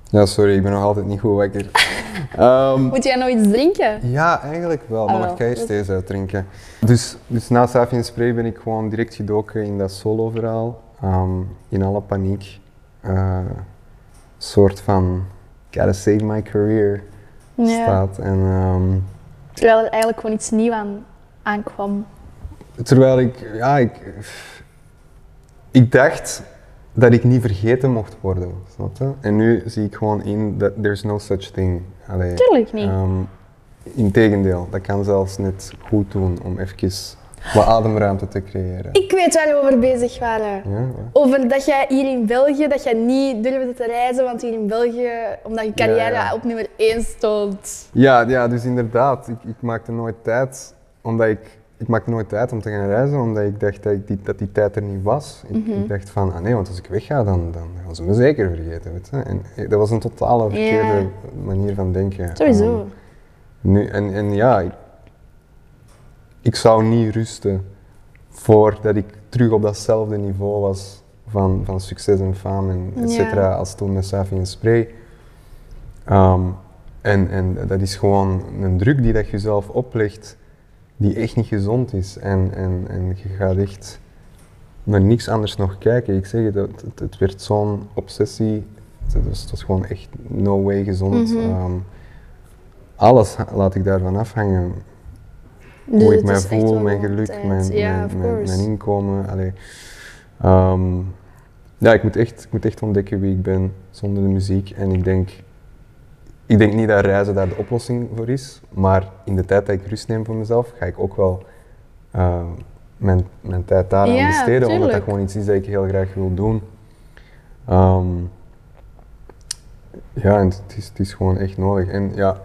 Speaker 1: ja, sorry, ik ben nog altijd niet goed
Speaker 2: *laughs*
Speaker 1: wakker. Ehm,
Speaker 2: Moet jij nou iets drinken?
Speaker 1: ja, eigenlijk wel,
Speaker 2: Ah,
Speaker 1: maar
Speaker 2: wel.
Speaker 1: ik ga eerst
Speaker 2: Dat-
Speaker 1: deze uitdrinken. Dus, dus na Safi en Spray ben ik gewoon direct gedoken in dat solo-verhaal. ehm, in alle paniek. Eh, soort van, gotta save my career staat. En, ehm,
Speaker 2: Terwijl er eigenlijk gewoon iets nieuws aan aankwam.
Speaker 1: Terwijl ik, ja, ik, ik dacht dat ik niet vergeten mocht worden, snap je? En nu zie ik gewoon in dat there's no such thing. Allee,
Speaker 2: Tuurlijk niet.
Speaker 1: ehm, integendeel, dat kan zelfs net goed doen om even Wat ademruimte te creëren.
Speaker 3: Ik weet waar we over bezig waren.
Speaker 1: Ja, wat?
Speaker 3: Over dat jij hier in België, dat jij niet durfde te reizen, want hier in België, omdat je carrière
Speaker 1: ja.
Speaker 3: op nummer 1 stond.
Speaker 1: Ja, ja, dus inderdaad. Ik, ik maakte nooit tijd, omdat ik, ik maakte nooit tijd om te gaan reizen, omdat ik dacht dat, ik die, dat die tijd er niet was. Ik, ik dacht van, ah nee, want als ik wegga, dan, dan gaan ze me zeker vergeten. Weet je? En eh, dat was een totale verkeerde manier van denken.
Speaker 2: Sowieso.
Speaker 1: Ehm, nu, en, en ja, ik, ik zou niet rusten voordat ik terug op datzelfde niveau was van, van succes en fame en et cetera,
Speaker 3: Ja.
Speaker 1: als toen met Safi en Spray. Ehm, en, en dat is gewoon een druk die dat je jezelf oplegt, die echt niet gezond is. En, en, en je gaat echt naar niks anders nog kijken. Ik zeg het, het, het- het werd zo'n obsessie. Het was, het was gewoon echt no way gezond.
Speaker 3: Mhm.
Speaker 1: Ehm, alles ha- laat ik daarvan afhangen.
Speaker 3: Dus
Speaker 1: Hoe ik
Speaker 3: het
Speaker 1: mij
Speaker 3: is echt
Speaker 1: voel,
Speaker 3: wel
Speaker 1: mijn
Speaker 3: gewoon
Speaker 1: geluk,
Speaker 3: tijd.
Speaker 1: mijn,
Speaker 3: Ja,
Speaker 1: mijn,
Speaker 3: of
Speaker 1: mijn-
Speaker 3: course.
Speaker 1: mijn inkomen. Allee. Ehm, ja, ik moet, echt, ik moet echt ontdekken wie ik ben zonder de muziek. En ik denk, ik denk niet dat reizen daar de oplossing voor is. Maar in de tijd dat ik rust neem voor mezelf, ga ik ook wel eh, mijn, mijn tijd daar aan
Speaker 2: Ja,
Speaker 1: besteden. Omdat dat
Speaker 2: tuurlijk.
Speaker 1: gewoon iets is dat ik heel graag wil doen. Ehm, ja, en het is, het is gewoon echt nodig. En
Speaker 2: *laughs*
Speaker 1: ja,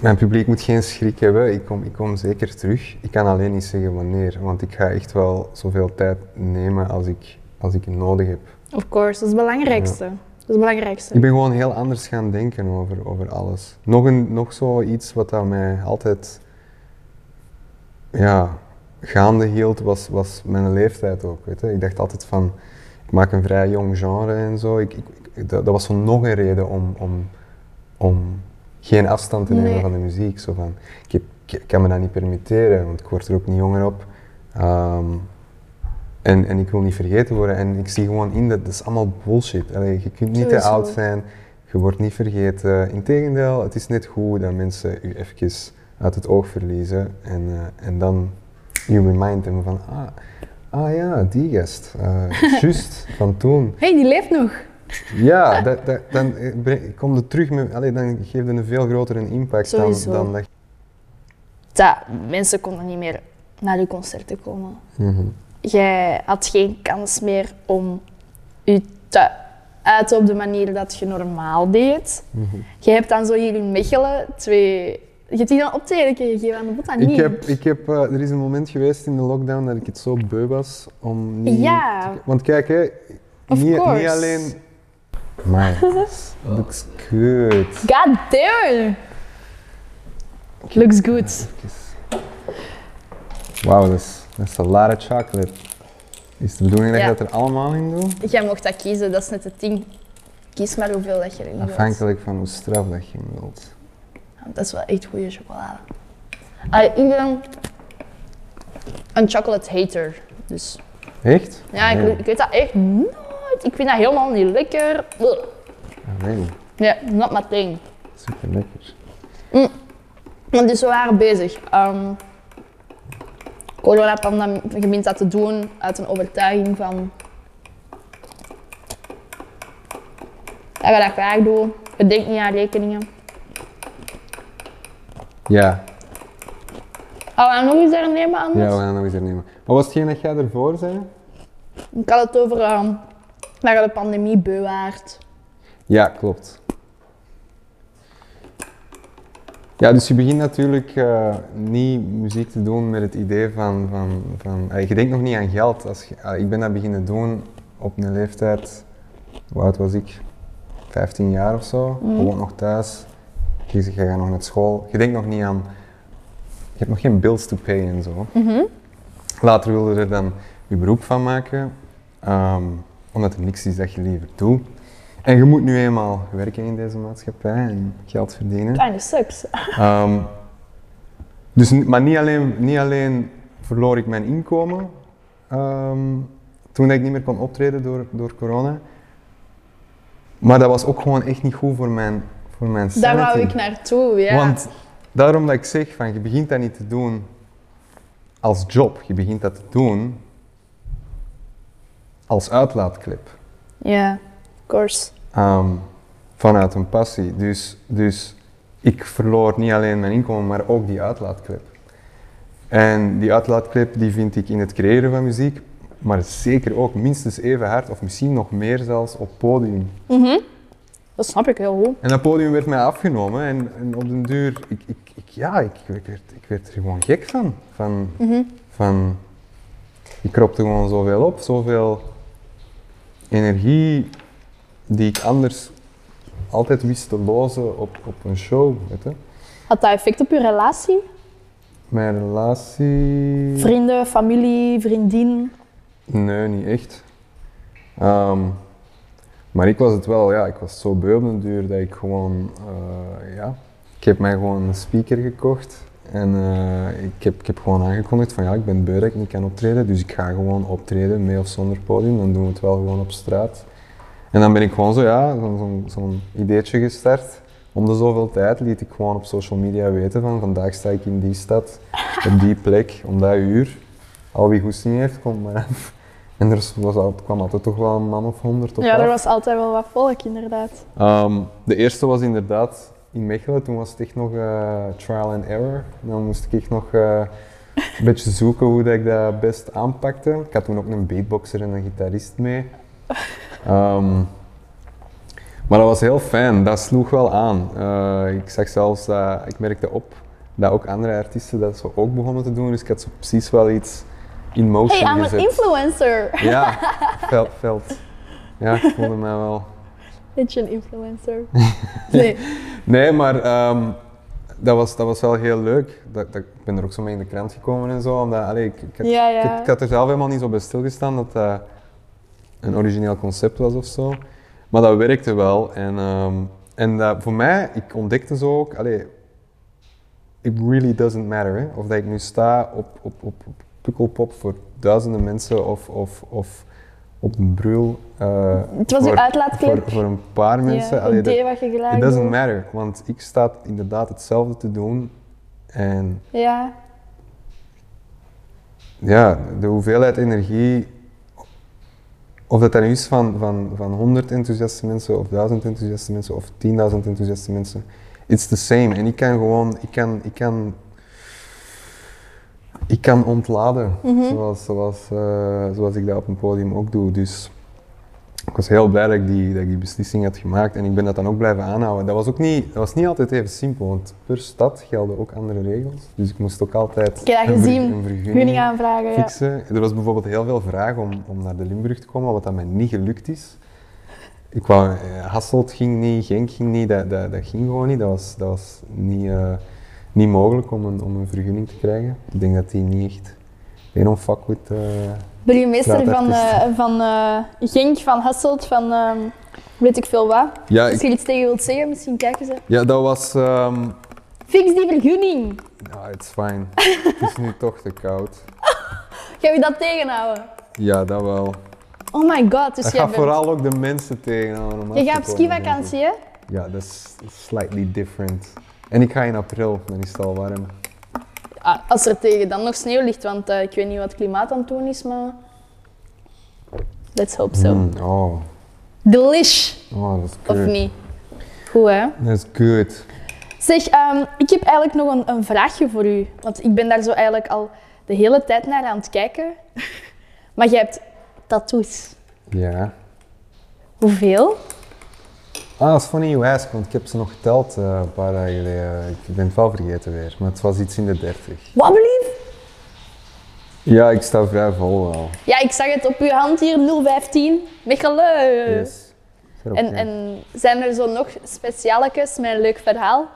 Speaker 1: mijn publiek moet geen schrik hebben. Ik kom, ik kom zeker terug. Ik kan alleen niet zeggen wanneer, want ik ga echt wel zoveel tijd nemen als ik, als ik nodig heb.
Speaker 3: Of course, dat is het belangrijkste. Dat is het belangrijkste.
Speaker 1: Ik ben gewoon heel anders gaan denken over, over alles. Nog, een, nog zoiets wat dat mij altijd ja, gaande hield, was, was mijn leeftijd ook. Weet je? Ik dacht altijd van, ik maak een vrij jong genre en zo. Ik, ik, ik- dat, dat was zo nog een reden om, om, om geen afstand te nemen
Speaker 3: Nee.
Speaker 1: van de muziek. Zo van, ik, heb- ik kan me dat niet permitteren, want ik word er ook niet jonger op. Ehm, en, en ik wil niet vergeten worden. En ik zie gewoon in dat dat is allemaal bullshit. Allee, je kunt niet te
Speaker 3: Sowieso.
Speaker 1: oud zijn, je wordt niet vergeten. Integendeel, het is net goed dat mensen u even uit het oog verliezen. En, eh, en dan you remind them van, ah, ah ja, die gast. eh juist, van toen.
Speaker 2: hey, die leeft nog.
Speaker 1: Ja, dat, dat, dan eh, breng- kom je terug met, allee, dan geeft het een veel grotere impact dan,
Speaker 2: Sowieso.
Speaker 1: dan dat.
Speaker 2: Dat, mensen konden niet meer naar je concerten komen.
Speaker 1: Mhm.
Speaker 2: Jij had geen kans meer om je te uiten op de manier dat je normaal deed.
Speaker 1: mhm.
Speaker 2: Je hebt dan zo hier in Mechelen twee... Je hebt die dan optreden gegeven aan de Botta, niet?
Speaker 1: Ik heb, ik heb, eh, er is een moment geweest in de lockdown dat ik het zo beu was om niet...
Speaker 2: Ja.
Speaker 1: te- want kijk, hè,
Speaker 2: Of
Speaker 1: niet, niet
Speaker 2: course.
Speaker 1: alleen...
Speaker 2: *laughs*
Speaker 1: Maar, looks good.
Speaker 2: God damn! Looks good.
Speaker 1: Wauw, dat is, dat is a lot of chocolate. Is de bedoeling dat
Speaker 2: Ja.
Speaker 1: je dat er allemaal in doet?
Speaker 2: Jij mocht dat kiezen, dat is net het ding. Kies maar hoeveel dat je erin wilt.
Speaker 1: Afhankelijk van hoe straf dat je hem wilt.
Speaker 2: Dat is wel echt goede chocolade. Ah, ik ben een chocolate hater. Dus
Speaker 1: Echt?
Speaker 2: ja,
Speaker 1: Nee.
Speaker 2: ik, ik weet dat echt nooit. Ik vind dat helemaal niet lekker. Ugh.
Speaker 1: Ah, nee,
Speaker 2: Ja, not my thing.
Speaker 1: super lekker.
Speaker 2: Want dus we waren bezig. Ehm corona pandemie, je bent dat te doen uit een overtuiging van dat je dat graag doet. Je denkt niet aan rekeningen.
Speaker 1: Ja,
Speaker 2: Oh, en nog eens daar nemen anders?
Speaker 1: ja, we gaan nog eens hernemen. Maar was hetgeen dat jij ervoor zei?
Speaker 2: Ik had het over ehm, dat je de pandemie beu waart.
Speaker 1: Ja, klopt. Ja, dus je begint natuurlijk eh, niet muziek te doen met het idee van... van, van eh, je denkt nog niet aan geld. Als je- ah, ik ben dat beginnen doen op een leeftijd... Hoe oud was ik? 15 jaar of zo. Je woont nog thuis. Je, zegt, je gaat nog naar school. Je denkt nog niet aan... Je hebt nog geen bills to pay en zo. Later wilde je er dan je beroep van maken. ehm, omdat er niks is dat je liever doet. En je moet nu eenmaal werken in deze maatschappij en geld verdienen.
Speaker 2: Kleine seks.
Speaker 1: Ehm, dus, ni- maar niet alleen, niet alleen verloor ik mijn inkomen ehm, toen dat ik niet meer kon optreden door, door corona. Maar dat was ook gewoon echt niet goed voor mijn, voor mijn
Speaker 2: Daar
Speaker 1: sanity.
Speaker 2: wou ik naartoe, ja.
Speaker 1: Want daarom dat ik zeg, van, je begint dat niet te doen als job. Je begint dat te doen als uitlaatklep.
Speaker 2: Ja, of course.
Speaker 1: Ehm, vanuit een passie. Dus, dus ik verloor niet alleen mijn inkomen, maar ook die uitlaatklep. En die uitlaatklep die vind ik in het creëren van muziek, maar zeker ook minstens even hard, of misschien nog meer zelfs, op podium.
Speaker 3: Mhm.
Speaker 2: Dat snap ik heel goed.
Speaker 1: En dat podium werd mij afgenomen en, en op den duur, ik, ik, ik, ja, ik, ik werd, ik werd er gewoon gek van. van,
Speaker 3: Mhm.
Speaker 1: van ik kropte gewoon zoveel op, zoveel energie die ik anders altijd wist te lozen op, op een show. Weet je.
Speaker 2: Had dat effect op je relatie?
Speaker 1: Mijn relatie...
Speaker 2: Vrienden, familie, vriendin?
Speaker 1: Nee, niet echt. Ehm, maar ik was het wel, ja, ik was zo beu op den duur dat ik gewoon, eh, ja, ik heb mij gewoon een speaker gekocht. En eh, ik, heb, ik heb gewoon aangekondigd van ja, ik ben beu dat ik niet kan optreden, dus ik ga gewoon optreden, mee of zonder podium, dan doen we het wel gewoon op straat. En dan ben ik gewoon zo, ja, zo'n zo'n- zo'n ideetje gestart. Om de zoveel tijd liet ik gewoon op social media weten van vandaag sta ik in die stad, op die plek, om dat uur. Al wie goesting heeft, komt maar af. En er was, was al- kwam altijd toch wel een man of honderd op
Speaker 3: Ja,
Speaker 1: af.
Speaker 3: er was altijd wel wat volk, inderdaad.
Speaker 1: Ehm, de eerste was inderdaad in Mechelen. Toen was het echt nog eh, trial and error. Dan moest ik echt nog eh, een beetje zoeken hoe dat ik dat best aanpakte. Ik had toen ook een beatboxer en een gitarist mee. Ehm, maar dat was heel fijn. Dat sloeg wel aan. Eh, ik zag zelfs, dat ik merkte op dat ook andere artiesten dat zo ook begonnen te doen. Dus ik had zo precies wel iets in motion
Speaker 2: Hey, I'm an
Speaker 1: gezet.
Speaker 2: influencer! *laughs*
Speaker 1: Ja, veld, veld. Ja, ik voelde mij wel...
Speaker 3: Beetje een
Speaker 1: *laughs*
Speaker 3: influencer.
Speaker 2: Nee.
Speaker 1: Nee, maar ehm, dat, was, dat was wel heel leuk. Dat, dat, ik ben er ook zo mee in de krant gekomen en zo. Omdat, allee, ik, ik, had-
Speaker 2: Ja,
Speaker 1: ik
Speaker 2: ja.
Speaker 1: had- ik had er zelf helemaal niet zo bij stilgestaan dat dat een origineel concept was of zo. Maar dat werkte wel. En, ehm, en dat, voor mij, ik ontdekte zo ook, allee, it really doesn't matter. Hè? Of dat ik nu sta op, op, op, op Pukkelpop voor duizenden mensen of, of, of op een brul. eh,
Speaker 2: Het was uw
Speaker 1: voor-
Speaker 2: uitlaatklep.
Speaker 1: Voor, voor een paar mensen.
Speaker 2: Ja,
Speaker 1: Allee,
Speaker 2: het
Speaker 1: dat-
Speaker 2: deed wat je graag
Speaker 1: It doesn't
Speaker 2: doet.
Speaker 1: matter, want ik sta inderdaad hetzelfde te doen. En
Speaker 2: Ja.
Speaker 1: ja, de hoeveelheid energie, of dat dan nu is van, van, van 100 enthousiaste mensen, of 1000 enthousiaste mensen, of 10.000 enthousiaste mensen, it's the same. En ik kan gewoon, ik kan, ik kan, ik kan ontladen,
Speaker 2: Mhm.
Speaker 1: zoals, zoals, eh, zoals ik dat op een podium ook doe. Dus ik was heel blij dat ik, die, dat ik die beslissing had gemaakt en ik ben dat dan ook blijven aanhouden. Dat was ook niet, dat was niet altijd even simpel, want per stad gelden ook andere regels. Dus ik moest ook altijd
Speaker 2: Ik heb dat
Speaker 1: een ver-
Speaker 2: gezien.
Speaker 1: een
Speaker 2: Gunning aanvragen, ja.
Speaker 1: fixen. Er was bijvoorbeeld heel veel vraag om, om naar de Limburg te komen, wat dat mij niet gelukt is. Ik wou, eh, Hasselt ging niet, Genk ging niet, dat, dat, dat ging gewoon niet. Dat was, dat was niet, eh, niet mogelijk om een, om een vergunning te krijgen. Ik denk dat die niet echt... They don't fuck with... eh,
Speaker 2: Burgemeester
Speaker 1: Ja,
Speaker 2: van,
Speaker 1: artiest.
Speaker 2: eh, van eh, Genk, van Hasselt, van ehm, weet ik veel wat.
Speaker 1: Ja,
Speaker 2: Als
Speaker 1: ik-
Speaker 2: je er iets tegen wilt zeggen, misschien kijken ze.
Speaker 1: ja, dat was... ehm,
Speaker 2: Fix die vergunning!
Speaker 1: ja, it's fine. Het is nu toch te koud.
Speaker 2: Ga je dat tegenhouden?
Speaker 1: Ja, dat wel.
Speaker 2: Oh my god, dus
Speaker 1: Dat
Speaker 2: jij
Speaker 1: gaat
Speaker 2: bent...
Speaker 1: vooral ook de mensen tegenhouden. om af
Speaker 2: Je
Speaker 1: te
Speaker 2: gaat op
Speaker 1: komen, denk ik.
Speaker 2: skivakantie, hè?
Speaker 1: Ja, dat is slightly different. En ik ga in april, dan is het al warm.
Speaker 2: Ah, als er tegen dan nog sneeuw ligt, want eh, ik weet niet wat het klimaat aan het doen is, maar... Let's hope so.
Speaker 1: Mm, oh.
Speaker 2: Delish,
Speaker 1: oh, dat is
Speaker 2: of
Speaker 1: good.
Speaker 2: niet? Goed, hè?
Speaker 1: Dat is good.
Speaker 2: Zeg, ehm, ik heb eigenlijk nog een, een vraagje voor u. Want ik ben daar zo eigenlijk al de hele tijd naar aan het kijken. *laughs* Maar jij hebt tattoos.
Speaker 1: Ja.
Speaker 2: Hoeveel?
Speaker 1: Ah, dat is funny you ask, want ik heb ze nog geteld eh, een paar dagen geleden. Ik ben het wel vergeten weer, maar het was iets in de 30.
Speaker 2: Wat blieft?
Speaker 1: Ja, ik sta vrij vol wel.
Speaker 2: Ja, ik zag het op uw hand hier, 015. Mechelen.
Speaker 1: Yes. Is er ook
Speaker 2: Eh. En,
Speaker 1: een?
Speaker 2: en zijn er zo nog specialetjes met een leuk verhaal?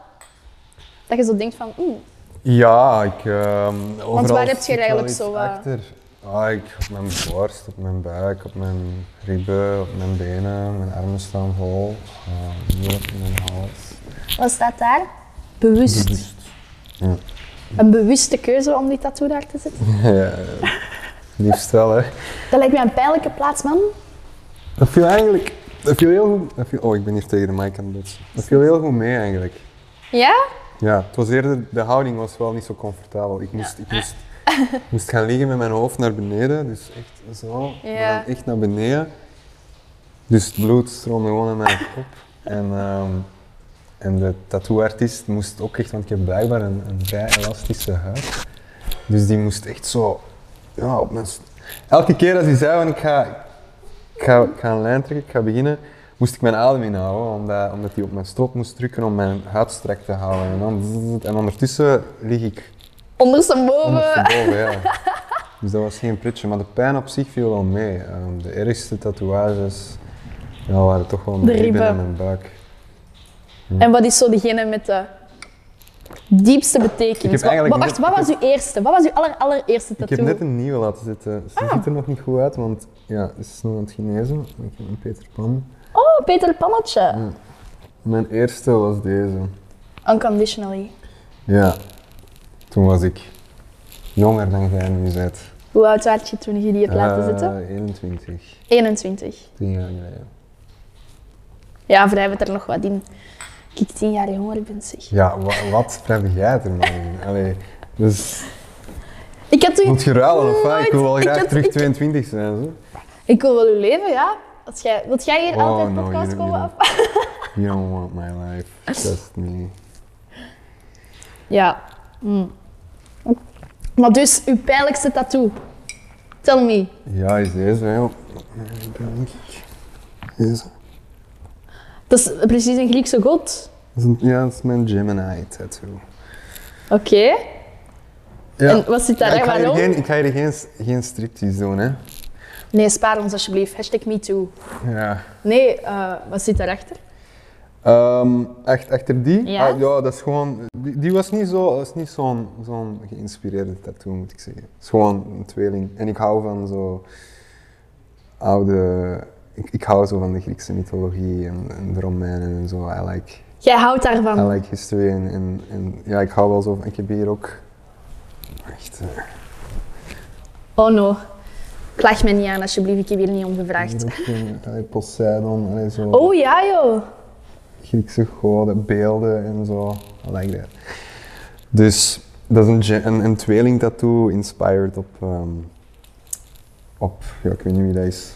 Speaker 2: Dat je zo denkt van, mm,
Speaker 1: Ja, ik. ehm overal
Speaker 2: waar heb je
Speaker 1: zit wel
Speaker 2: eigenlijk
Speaker 1: iets
Speaker 2: zo eh? wat?
Speaker 1: Achter. Ah, ik, op mijn borst, op mijn buik, op mijn ribben, op mijn benen, mijn armen staan vol. eh, hier op mijn hals.
Speaker 2: wat staat daar? Bewust. Een bewuste keuze om die tattoo daar te zetten.
Speaker 1: ja, *laughs* liefst wel, hè.
Speaker 2: Dat lijkt mij een pijnlijke plaats, man.
Speaker 1: Dat viel eigenlijk. Dat viel heel goed. Dat viel, oh, ik ben hier tegen de mic aan het botsen. Dat viel heel goed mee eigenlijk.
Speaker 2: Ja?
Speaker 1: Ja, het was eerder, de houding was wel niet zo comfortabel. Ik moest, ik moest, ik moest gaan liggen met mijn hoofd naar beneden, dus echt zo, maar
Speaker 2: Ja.
Speaker 1: dan echt naar beneden. Dus het bloed stroomde gewoon aan mijn kop. En, ehm, en de tattooartiest moest ook echt, want ik heb blijkbaar een, een vrij elastische huid. Dus die moest echt zo, ja, op mijn... st- Elke keer als hij zei van ik ga, ik ga, ik ga een lijn trekken, ik ga beginnen, moest ik mijn adem inhouden, omdat, omdat hij op mijn strop moest drukken om mijn huid strak te houden. En, dan, en ondertussen lig ik
Speaker 2: Ondersteboven.
Speaker 1: ondersteboven, ja. Dus dat was geen pretje, maar de pijn op zich viel wel mee. Ehm, de ergste tatoeages ja, waren toch wel
Speaker 2: De
Speaker 1: mijn ribben en
Speaker 2: ribben.
Speaker 1: mijn buik.
Speaker 2: En wat is zo degene met de diepste betekenis?
Speaker 1: Ik heb
Speaker 2: Wa-
Speaker 1: eigenlijk
Speaker 2: wa- wacht,
Speaker 1: net-
Speaker 2: wat was uw eerste? Wat was uw aller, allereerste
Speaker 1: Ik
Speaker 2: tattoo? Ah.
Speaker 1: heb net een nieuwe laten zitten. Ze ziet er nog niet goed uit, want ja, ze is nog aan het genezen. Ik heb een Peter Pan.
Speaker 2: Oh, Peter Pannetje.
Speaker 1: Mijn eerste was deze.
Speaker 2: Unconditionally.
Speaker 1: Ja, toen was ik jonger dan jij nu bent.
Speaker 2: Hoe oud werd je toen je die hebt laten
Speaker 1: Eh,
Speaker 2: zitten?
Speaker 1: 21,
Speaker 2: 21.
Speaker 1: 10 jaar geleden.
Speaker 2: Ja, vrij werd er nog wat in. Kijk, tien jaar jonger ben zeg.
Speaker 1: Ja, wa- wat heb jij er nog in? Allee, dus
Speaker 2: Ik had toen...
Speaker 1: moet je ruilen of wat? Ik wil wel
Speaker 2: Nooit.
Speaker 1: graag
Speaker 2: Ik had-
Speaker 1: terug
Speaker 2: ik-
Speaker 1: 22 zijn. Zo.
Speaker 2: Ik wil wel uw leven, ja. Als jij... Wilt jij hier
Speaker 1: Oh,
Speaker 2: altijd
Speaker 1: no,
Speaker 2: podcast
Speaker 1: you don't-
Speaker 2: komen
Speaker 1: you
Speaker 2: af?
Speaker 1: You don't want my life, just me.
Speaker 2: *laughs* Ja. Mm. Maar dus, uw pijnlijkste tattoo. Tell me.
Speaker 1: Ja, is deze, hè? Oh, Op mijn buik. Deze.
Speaker 2: Dat is precies een Griekse god.
Speaker 1: Dat is een- Ja, dat is mijn Gemini tattoo.
Speaker 2: Oké.
Speaker 1: Ja.
Speaker 2: En wat zit daar
Speaker 1: Ja, ik ga
Speaker 2: echt
Speaker 1: hier
Speaker 2: waarom?
Speaker 1: geen, ik ga hier geen, geen striptease doen, hè?
Speaker 2: Nee, spaar ons alsjeblieft. Hashtag MeToo.
Speaker 1: Ja.
Speaker 2: Nee, eh, wat zit daarachter?
Speaker 1: Ehm, echt, achter die?
Speaker 2: Ja.
Speaker 1: Ah, ja, dat is gewoon. Die, die was niet zo- was niet zo'n zo'n geïnspireerde tattoo, moet ik zeggen. Het is gewoon een tweeling. En ik hou van zo. oude. Ik, ik hou zo van de Griekse mythologie en, en de Romeinen en zo. I like,
Speaker 2: Jij houdt
Speaker 1: I
Speaker 2: daarvan.
Speaker 1: like history. En, en, en ja, ik hou wel zo van. Ik heb hier ook. Echt. eh,
Speaker 2: Oh no. Klaag mij niet aan, alsjeblieft. Ik heb hier niet om
Speaker 1: hier
Speaker 2: gevraagd.
Speaker 1: ook een, allee, *laughs* Poseidon en zo.
Speaker 2: Oh ja, joh.
Speaker 1: Griekse goden, beelden en zo. I like that. Dus dat is een, ge- een, een tweeling tattoo inspired op, ehm, op, ja, ik weet niet wie dat is.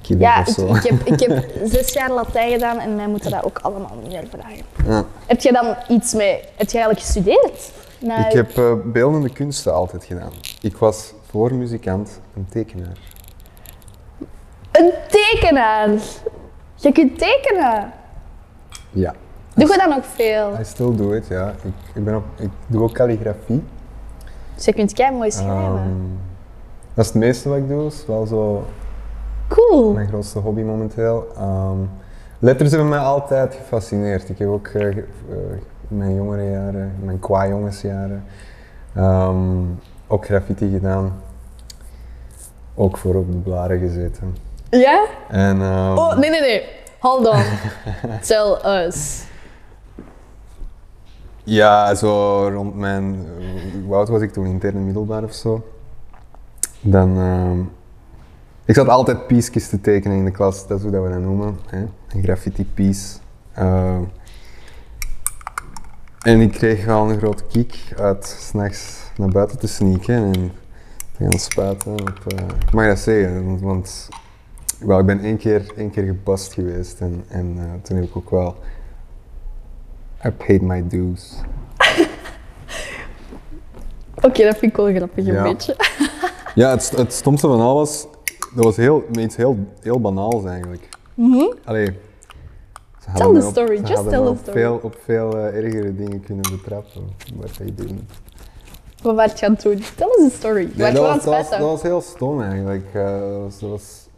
Speaker 1: Achilles
Speaker 2: Ja,
Speaker 1: of
Speaker 2: ik,
Speaker 1: zo.
Speaker 2: ik, heb, ik
Speaker 1: *laughs*
Speaker 2: heb zes jaar Latijn gedaan en mij moeten dat ook allemaal niet meer vragen.
Speaker 1: Ja.
Speaker 2: Heb jij dan iets mee... Heb jij eigenlijk gestudeerd? Nou,
Speaker 1: Ik heb eh, beeldende kunsten altijd gedaan. Ik was voor muzikant een tekenaar.
Speaker 2: Een tekenaar. Je kunt tekenen.
Speaker 1: Ja.
Speaker 2: Doe je dan ook veel?
Speaker 1: I still do it, ja. Ik, ik, ben ook, ik doe ook calligrafie.
Speaker 2: Dus je kunt kei mooi schrijven.
Speaker 1: Ehm, dat is het meeste wat ik doe, is wel zo
Speaker 2: cool.
Speaker 1: Mijn grootste hobby momenteel. Ehm, letters hebben mij altijd gefascineerd. Ik heb ook eh, ge- eh, in mijn jongere jaren, in mijn qua jongensjaren, ehm, ook graffiti gedaan. Ook voor op de blaren gezeten.
Speaker 2: Ja?
Speaker 1: En, ehm,
Speaker 2: Oh, nee, nee, nee. Hold
Speaker 1: *laughs*
Speaker 2: on. Tell us.
Speaker 1: Ja, zo rond mijn. eh, Hoe oud was ik toen? Interne middelbaar of zo. Dan. ehm, ik zat altijd piesjes te tekenen in de klas, dat is hoe dat we dat noemen. Hè? Een graffiti piece. Ehm, en ik kreeg wel een grote kick uit s'nachts naar buiten te sneaken en te gaan spuiten. Op, eh, ik mag dat zeggen, want, want wel, ik ben één keer, één keer gebast geweest en, en eh, toen heb ik ook wel. I paid my dues.
Speaker 2: Oké, dat vind ik wel grappig, een
Speaker 1: Ja.
Speaker 2: beetje. *laughs*
Speaker 1: Ja, het, st- het stomste van al was, dat was heel, met iets heel, heel banaals eigenlijk. Allee. ze hadden
Speaker 2: the
Speaker 1: mij op-
Speaker 2: story,
Speaker 1: ze
Speaker 2: just
Speaker 1: hadden
Speaker 2: Mhm. tell
Speaker 1: mij
Speaker 2: the
Speaker 1: op
Speaker 2: story.
Speaker 1: Veel, op veel eh, ergere dingen kunnen betrappen, wat hij doen.
Speaker 2: Wat werd je aan het doen? Tell us a story. Je werd
Speaker 1: dat,
Speaker 2: gewoon
Speaker 1: was,
Speaker 2: aan het
Speaker 1: dat, was,
Speaker 2: spuiten.
Speaker 1: dat was heel stom eigenlijk. Eh, dat, was, dat was-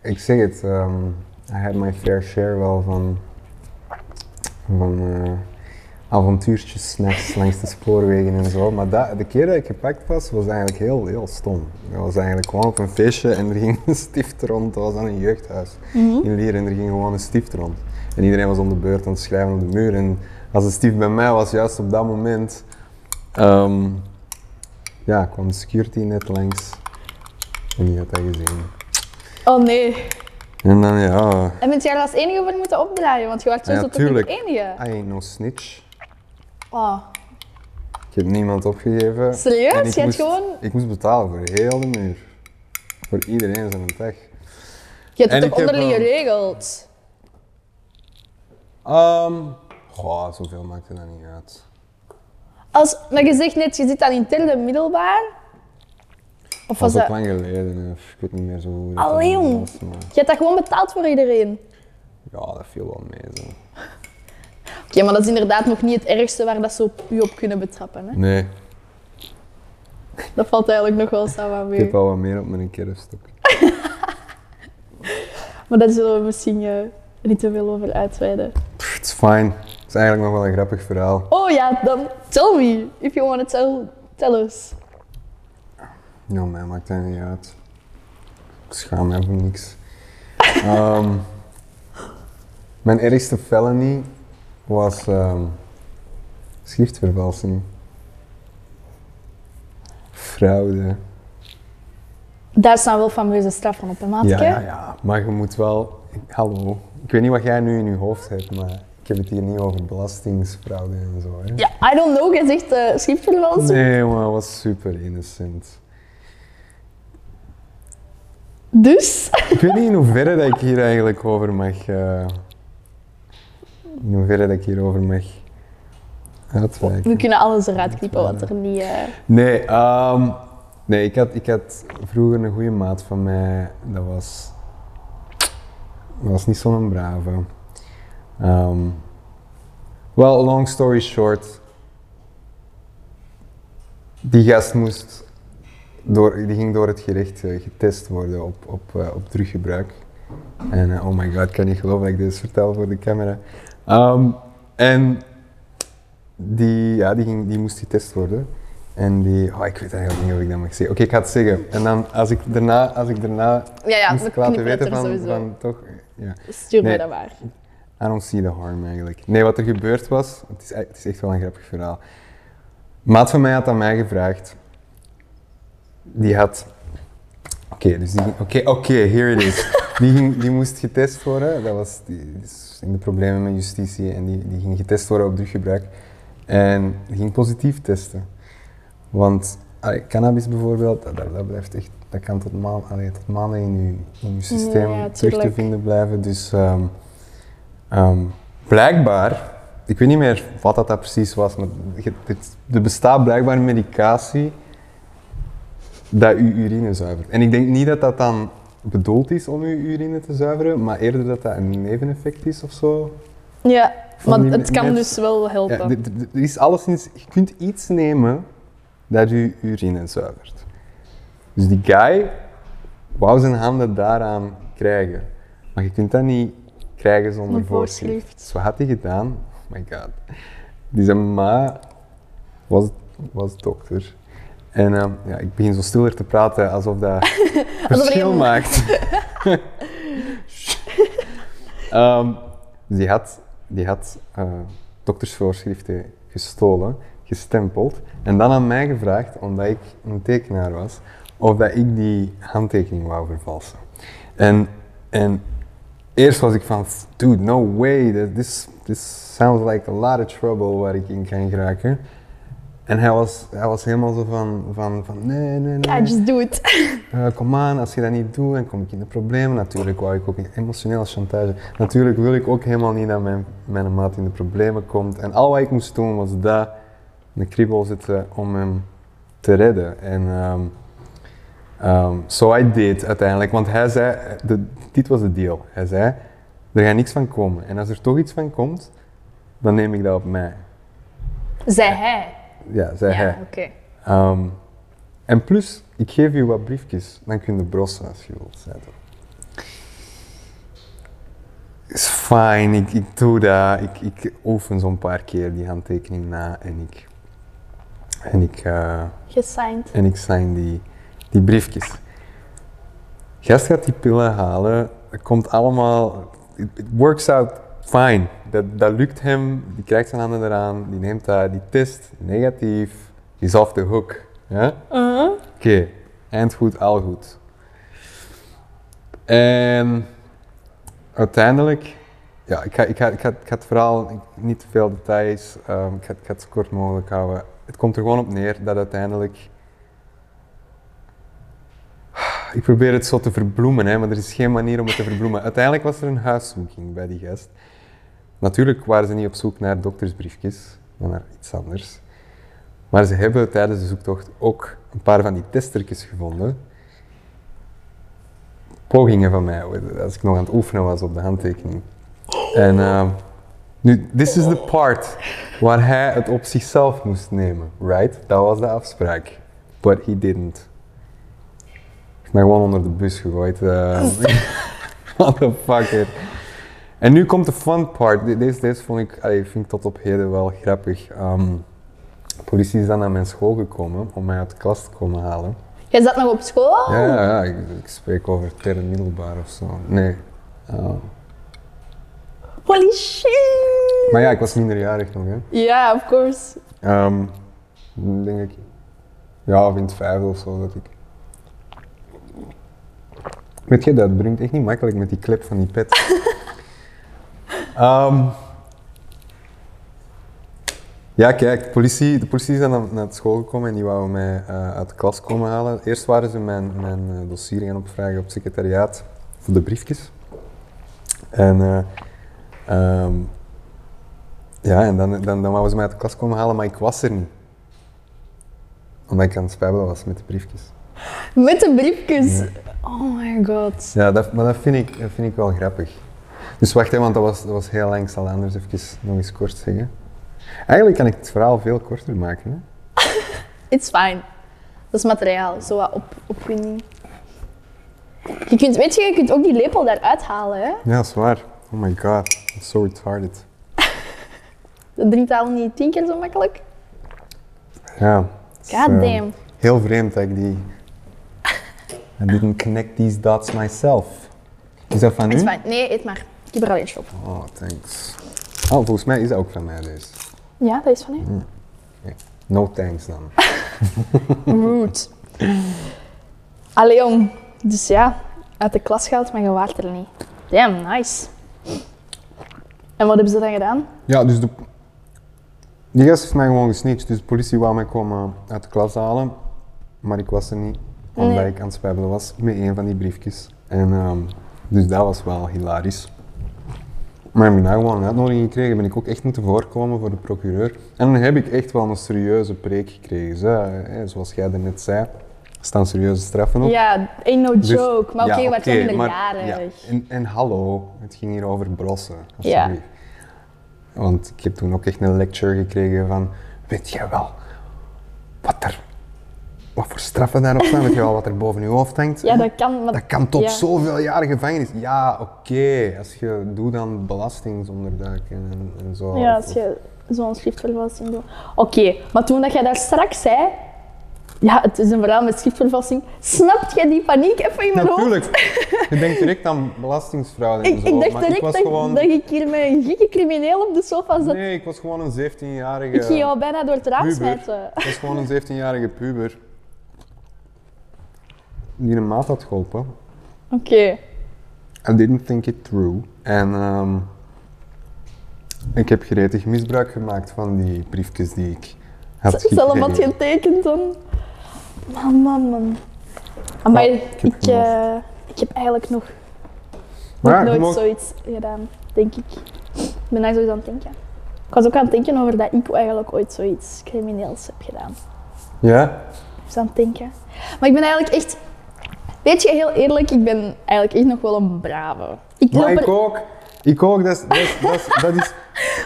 Speaker 1: Ik zeg het, ehm I had my fair share wel van, van eh, avontuurtjes s'nachts langs de spoorwegen en zo. Maar dat, de keer dat ik gepakt was, was eigenlijk heel, heel stom. Dat was eigenlijk gewoon op een feestje en er ging een stift rond. Dat was aan een jeugdhuis in Lier en er ging gewoon een stift rond. En iedereen was om de beurt aan het schrijven op de muur. En als de stift bij mij was, juist op dat moment, ehm, ja, kwam de security net langs. En die had dat gezien.
Speaker 2: Oh nee.
Speaker 1: En dan ja,
Speaker 2: En bent jij er als enige voor moeten opdraaien? Want je dus werd
Speaker 1: Ja,
Speaker 2: sowieso toch niet
Speaker 1: tuurlijk. Ah.
Speaker 2: de enige?
Speaker 1: I ain't no snitch.
Speaker 2: Oh,
Speaker 1: Ik heb niemand opgegeven.
Speaker 2: Serieus?
Speaker 1: En ik
Speaker 2: Je hebt
Speaker 1: moest-
Speaker 2: gewoon-
Speaker 1: Ik moest betalen voor heel de muur. Voor iedereen zijn dag.
Speaker 2: je hebt
Speaker 1: En
Speaker 2: het
Speaker 1: ik
Speaker 2: toch
Speaker 1: heb,
Speaker 2: onderling
Speaker 1: eh,
Speaker 2: geregeld?
Speaker 1: Ehm goh, zoveel maakte dat niet uit.
Speaker 2: Als, maar je zegt net, je zit aan interne middelbaar.
Speaker 1: Dat
Speaker 2: Of was
Speaker 1: is ook
Speaker 2: dat...
Speaker 1: lang geleden, hè. ik weet niet meer zo goed. hoe dat
Speaker 2: Allee,
Speaker 1: allemaal
Speaker 2: jong.
Speaker 1: was, maar
Speaker 2: Je hebt dat gewoon betaald voor iedereen.
Speaker 1: Ja, dat viel wel mee. Zo.
Speaker 2: Oké, maar dat is inderdaad nog niet het ergste waar dat ze op, u op kunnen betrappen. Hè?
Speaker 1: Nee,
Speaker 2: Dat valt eigenlijk nog wel samen
Speaker 1: ik heb
Speaker 2: mee.
Speaker 1: al wat meer op mijn kerfstok.
Speaker 2: Maar daar zullen we misschien eh, niet te veel over uitweiden.
Speaker 1: Pff, It's fine. Het is eigenlijk nog wel een grappig verhaal.
Speaker 2: Oh ja, dan tell me. If you want to tell, tell us.
Speaker 1: Ja, mij maakt dat niet uit. Ik schaam me voor niks. *laughs* Ehm, mijn ergste felony was ehm schriftvervalsing. Fraude.
Speaker 2: Daar staan wel fameuze straffen op, hè,
Speaker 1: Ja,
Speaker 2: maatje?
Speaker 1: ja, ja, maar je moet wel. Hallo. Ik weet niet wat jij nu in je hoofd hebt, maar ik heb het hier niet over belastingsfraude en zo. Hè?
Speaker 2: Ja, I don't know, je zegt uh, schriftvervalsing.
Speaker 1: Nee, maar het was super innocent.
Speaker 2: Dus?
Speaker 1: Ik weet niet in hoeverre dat ik hier eigenlijk over mag. eh, in hoeverre dat ik hierover mag uitwijken.
Speaker 2: We kunnen alles eruit knippen wat er niet... eh,
Speaker 1: Nee, ehm, nee ik, had, ik had vroeger een goede maat van mij. Dat was, dat was niet zo'n brave. Ehm well, long story short. Die gast moest door, die ging door het gerecht eh, getest worden op, op, eh, op druggebruik. En eh, oh my god, ik kan niet geloven dat ik dit vertel voor de camera. Ehm, en die, ja, die, ging, die moest getest worden. En die, oh, ik weet eigenlijk niet of ik dat mag zeggen. Oké, ik ga het zeggen. En dan, als ik daarna, als ik daarna
Speaker 2: Ja, ja,
Speaker 1: moest
Speaker 2: we
Speaker 1: ik laten
Speaker 2: knippen het
Speaker 1: weten
Speaker 2: er
Speaker 1: van,
Speaker 2: sowieso.
Speaker 1: van toch, ja.
Speaker 2: Stuur
Speaker 1: Nee.
Speaker 2: mij dat maar.
Speaker 1: I don't see the harm eigenlijk. Nee, wat er gebeurd was, het is, e- het is echt wel een grappig verhaal. Maat van mij had aan mij gevraagd. Die had. Oké, dus die. ging- Oké, oké, here it is.
Speaker 2: *laughs*
Speaker 1: Die, ging, die moest getest worden. Dat was die, die is in de problemen met justitie en die, die ging getest worden op druggebruik. En die ging positief testen. Want allee, cannabis bijvoorbeeld, dat, dat, dat blijft echt. Dat kan tot, maan, allee, tot maanden in je, in je systeem
Speaker 2: Ja,
Speaker 1: terug te
Speaker 2: tuurlijk.
Speaker 1: vinden blijven. Dus. ehm, Ehm, blijkbaar, ik weet niet meer wat dat, dat precies was, maar je- het- er bestaat blijkbaar medicatie dat uw urine zuivert. En ik denk niet dat dat dan bedoeld is om uw urine te zuiveren, maar eerder dat dat een neveneffect is of zo.
Speaker 2: Ja,
Speaker 1: Van
Speaker 2: maar
Speaker 1: die
Speaker 2: het kan
Speaker 1: net-
Speaker 2: dus wel
Speaker 1: Ja,
Speaker 2: helpen.
Speaker 1: d- d- d- er is alleszins, je kunt iets nemen dat uw urine zuivert. Dus die guy wou zijn handen daaraan krijgen. Maar je kunt dat niet krijgen zonder
Speaker 2: Zonder
Speaker 1: voorschrift.
Speaker 2: voorschrift.
Speaker 1: Dus wat had hij gedaan? Oh my god. Die zijn ma was, was dokter. En ehm, ja, ik begin zo stiller te praten *laughs* alsof dat verschil
Speaker 2: helemaal-
Speaker 1: maakt. *laughs* Ehm, dus die had, die had eh, doktersvoorschriften gestolen, gestempeld en dan aan mij gevraagd, omdat ik een tekenaar was, of dat ik die handtekening wou vervalsen. En, en eerst was ik van, dude, no way, that- this, this sounds like a lot of trouble waar ik in kan geraken. En hij was, hij was helemaal zo van, van, van nee, nee, nee.
Speaker 2: Ja, just do it.
Speaker 1: Eh, kom aan, als je dat niet doet, dan kom ik in de problemen. Natuurlijk wou ik ook in emotionele chantage. Natuurlijk wil ik ook helemaal niet dat mijn, mijn maat in de problemen komt. En al wat ik moest doen was daar in de kriebel zitten om hem te redden. En ehm ehm, so I did uiteindelijk. Want hij zei, de, dit was de deal. Hij zei, er gaat niks van komen. En als er toch iets van komt, dan neem ik dat op mij.
Speaker 2: Zei hij.
Speaker 1: Ja, zei hij.
Speaker 2: Ja, oké.
Speaker 1: Ehm, en plus, ik geef u wat briefjes, dan kun je brossen als je wilt, zei hij. Is fijn, ik, ik doe dat. Ik, ik oefen zo'n paar keer die handtekening na en ik. En ik. eh,
Speaker 2: Gesigned.
Speaker 1: en ik sign die, die briefjes. Gast gaat die pillen halen, het komt allemaal, it, it works out fine. Dat, dat lukt hem, die krijgt zijn handen eraan, die neemt dat, die test, negatief, die is off the hook. Ja?
Speaker 2: Uh-huh.
Speaker 1: Oké, eind goed, al goed. En uiteindelijk, ja, ik ga, ik ga, ik ga, ik ga het verhaal niet te veel details, ehm, ik, ga, ik ga het zo kort mogelijk houden. Het komt er gewoon op neer dat uiteindelijk. Ik probeer het zo te verbloemen, hè, maar er is geen manier om het te verbloemen. Uiteindelijk was er een huiszoeking bij die gast. Natuurlijk waren ze niet op zoek naar doktersbriefjes, maar naar iets anders. Maar ze hebben tijdens de zoektocht ook een paar van die testertjes gevonden. Pogingen van mij, als ik nog aan het oefenen was op de handtekening. En ehm, nu, this is the part waar hij het op zichzelf moest nemen, right? Dat was de afspraak. But he didn't. Ik ben gewoon onder de bus gegooid. eh. *laughs* motherfucker. En nu komt de fun part. De- Deze, deze vond ik, allee, vind ik tot op heden wel grappig. Ehm, de politie is dan naar mijn school gekomen om mij uit de klas te komen halen.
Speaker 3: Jij zat nog op school?
Speaker 1: Ja, ja, ja, ik, ik spreek over derde middelbaar of zo. Nee. eh,
Speaker 3: Holy shit!
Speaker 1: maar ja, ik was minderjarig nog, hè.
Speaker 2: Ja, of course.
Speaker 1: Ehm, denk ik. Ja, of in het vijfde of zo dat ik. Weet je, dat brengt echt niet makkelijk met die klep van die pet. Ehm, ja, kijk, politie, de politie is dan naar- naar school gekomen en die wouden mij eh, uit de klas komen halen. Eerst waren ze mijn, mijn eh, dossier gaan opvragen op het secretariaat voor de briefjes. En eh, ehm, ja, en dan, dan, dan wouden ze mij uit de klas komen halen, maar ik was er niet. Omdat ik aan het spijbelen was met de briefjes.
Speaker 3: Met de briefjes.
Speaker 1: Ja.
Speaker 3: Oh my god.
Speaker 1: Ja, dat, maar dat vind, ik, dat vind ik wel grappig. Dus wacht, hè, want dat was, dat was heel lang. Ik zal anders even nog eens kort zeggen. Eigenlijk kan ik het verhaal veel korter maken. Hè?
Speaker 2: It's fine.
Speaker 3: Dat is materiaal, zo wat op, opwinding. Je kunt, weet je, je kunt ook die lepel daaruit halen, hè?
Speaker 1: Ja, dat is waar. Oh my god, I'm so retarded.
Speaker 3: Dat drinkt al niet tien keer zo makkelijk.
Speaker 1: Ja. het is,
Speaker 3: God
Speaker 1: eh,
Speaker 3: damn.
Speaker 1: heel vreemd dat ik die... *laughs* I didn't connect these dots myself. Is dat van
Speaker 3: Is
Speaker 1: u?
Speaker 3: fijn. Nee, eet maar. Ik heb er al eentje op.
Speaker 1: Oh, thanks. Oh, volgens mij is dat ook van mij deze.
Speaker 3: Ja, dat is van hem.
Speaker 1: No thanks dan.
Speaker 2: Rude.
Speaker 3: Allee, jong. Dus ja, uit de klas gehaald, maar je waart er niet.
Speaker 2: Damn, nice.
Speaker 3: En wat hebben ze dan gedaan?
Speaker 1: Ja, dus de... Die gast heeft mij gewoon gesnitcht, dus de politie wou mij komen eh, uit de klas halen. Maar ik was er niet, omdat ik aan het spijbelen was met een van die briefjes. En ehm, dus dat was wel hilarisch. Maar heb ik daar gewoon een uitnodiging gekregen, ben ik ook echt moeten voorkomen voor de procureur. En dan heb ik echt wel een serieuze preek gekregen. Zo, hè, zoals jij net zei, er staan serieuze straffen op.
Speaker 2: Ja, ain't no
Speaker 1: Oh. Dus-
Speaker 2: joke. Maar oké,
Speaker 1: ja,
Speaker 2: je werd wel
Speaker 1: oké, maar-
Speaker 2: minderjarig.
Speaker 1: ja, en, en hallo, het ging hier over brossen.
Speaker 2: Ja.
Speaker 1: alsjeblieft. Want ik heb toen ook echt een lecture gekregen van, weet jij wel, wat er, wat voor straffen daarop staan, weet je wel wat er boven je hoofd hangt?
Speaker 2: Ja, dat kan. Maar
Speaker 1: Dat kan tot
Speaker 2: ja.
Speaker 1: zoveel jaar gevangenis. Ja, oké, als je doet dan belastingonderduiken en, en zo.
Speaker 2: Ja,
Speaker 1: Of-
Speaker 2: als je zo'n schriftvervalsing doet. Oké, maar toen dat jij daar straks zei, ja, het is een verhaal met schriftvervalsing, snapt jij die paniek even in mijn hoofd?
Speaker 1: Natuurlijk. Je denkt direct aan belastingsfraude en
Speaker 2: Ik,
Speaker 1: zo,
Speaker 2: ik dacht
Speaker 1: maar
Speaker 2: direct
Speaker 1: ik was
Speaker 2: dat,
Speaker 1: gewoon...
Speaker 2: dat ik hier met een gekke crimineel op de sofa zat.
Speaker 1: Nee, ik was gewoon een 17-jarige...
Speaker 2: Ik ging jou bijna door het raam
Speaker 1: puber.
Speaker 2: smijten.
Speaker 1: Dat is gewoon een 17-jarige puber. Die een maat had geholpen.
Speaker 2: Oké.
Speaker 1: I didn't think it through. En ehm, ik heb gretig misbruik gemaakt van die briefjes die ik had
Speaker 2: Zelf
Speaker 1: gekregen.
Speaker 2: had getekend dan. Man, man, man. Amai,
Speaker 1: Ja, Ah, ik heb
Speaker 2: ik, eh, ik heb eigenlijk nog
Speaker 1: Maar ja, je
Speaker 2: nooit
Speaker 1: mag-
Speaker 2: zoiets gedaan, denk ik. Ik ben daar zoiets aan het denken. Ik was ook aan het denken over dat ik eigenlijk ooit zoiets crimineels heb gedaan.
Speaker 1: Ja?
Speaker 2: Dus aan het denken.
Speaker 3: Maar ik ben eigenlijk echt... Weet je, heel eerlijk, ik ben eigenlijk echt nog wel een brave. Ik loop
Speaker 1: Maar
Speaker 3: er...
Speaker 1: ik ook. Ik ook. Dat is, dat is, dat is, dat is,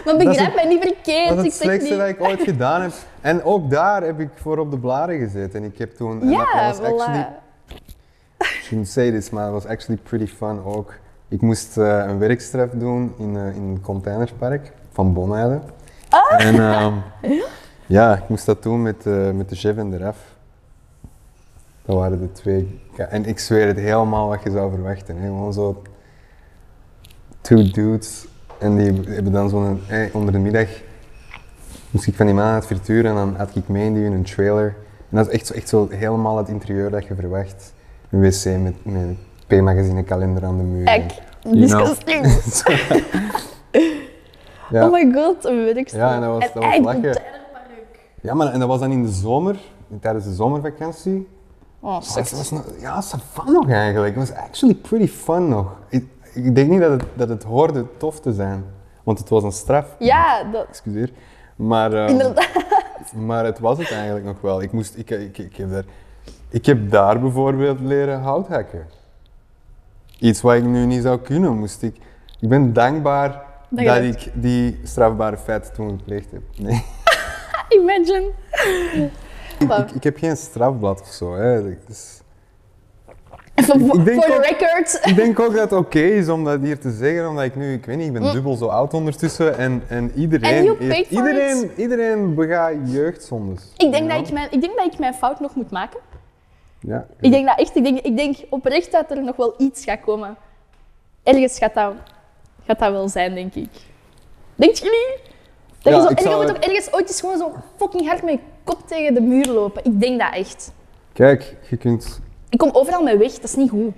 Speaker 3: Maar
Speaker 1: dat is
Speaker 3: begrijp
Speaker 1: het-
Speaker 3: mij niet verkeerd.
Speaker 1: dat is
Speaker 3: ik
Speaker 1: het
Speaker 3: zeg niet...
Speaker 1: slechtste dat ik ooit gedaan heb. En ook daar heb ik voor op de blaren gezet. En ik heb toen... en dat-
Speaker 3: Ja,
Speaker 1: dat was actually
Speaker 3: voilà.
Speaker 1: shouldn't say this, maar het was actually pretty fun ook. Ik moest eh, een werkstref doen in, eh, in een containerpark van Bonaire.
Speaker 3: Ah.
Speaker 1: En
Speaker 3: *laughs*
Speaker 1: ehm, ja, ik moest dat doen met, eh, met de chef en de ref. Dat waren de twee. Ja, en ik zweer het helemaal wat je zou verwachten. Hè. Gewoon zo two dudes en die hebben dan zo'n eh, onder de middag moest ik van die man aan het frituren en dan had ik mee in die een trailer. En dat is echt zo, echt zo helemaal het interieur dat je verwacht. Een wc met, met P-magazine kalender aan de muur.
Speaker 3: Ek.
Speaker 1: You know.
Speaker 3: Disgusting.
Speaker 1: Ja.
Speaker 3: Oh my god, een werkstuk.
Speaker 1: Ja, en dat was, dat was
Speaker 3: echt
Speaker 1: lachen. Ja, maar en dat was dan in de zomer, tijdens de zomervakantie.
Speaker 3: Oh,
Speaker 1: Oh, het was nog, ja, het was fun nog eigenlijk. Het was actually pretty fun nog. Ik, ik denk niet dat het, dat het hoorde tof te zijn, want het was een straf.
Speaker 3: Ja, dat...
Speaker 1: Excuseer. Maar ehm,
Speaker 3: Inderdaad.
Speaker 1: Maar het was het eigenlijk nog wel. Ik, moest, ik, ik, ik, heb, daar, ik heb daar bijvoorbeeld leren houthakken. Iets wat ik nu niet zou kunnen, moest ik. Ik ben dankbaar
Speaker 2: Dat
Speaker 1: dat,
Speaker 2: je
Speaker 1: ik die strafbare feiten toen gepleegd heb. Nee.
Speaker 2: *laughs* Imagine.
Speaker 1: Ik, ik, ik heb geen strafblad of zo. Hè. Dus
Speaker 2: Even voor
Speaker 1: ik denk
Speaker 2: voor de
Speaker 1: ook-
Speaker 2: record. *laughs*
Speaker 1: ik denk ook dat het oké is om dat hier te zeggen, omdat ik nu, ik weet niet, ik ben dubbel zo oud ondertussen en, en
Speaker 2: And Mm. you
Speaker 1: iedereen,
Speaker 2: paid for
Speaker 1: iedereen, iedereen begaat jeugdzondes.
Speaker 2: Ik denk,
Speaker 1: Ja.
Speaker 2: dat ik, mijn, ik denk dat ik mijn fout nog moet maken.
Speaker 1: Ja.
Speaker 2: Ik denk dat echt, ik denk, ik denk oprecht dat er nog wel iets gaat komen. Ergens gaat dat, gaat dat wel zijn, denk ik. Denk je niet? Dat
Speaker 1: Ja,
Speaker 2: je zo,
Speaker 1: ik
Speaker 2: en je
Speaker 1: zou-
Speaker 2: moet ook ergens ooit eens gewoon zo fucking hard met je kop tegen de muur lopen. Ik denk dat echt.
Speaker 1: Kijk, je kunt
Speaker 2: Ik kom overal mee weg, dat is niet goed.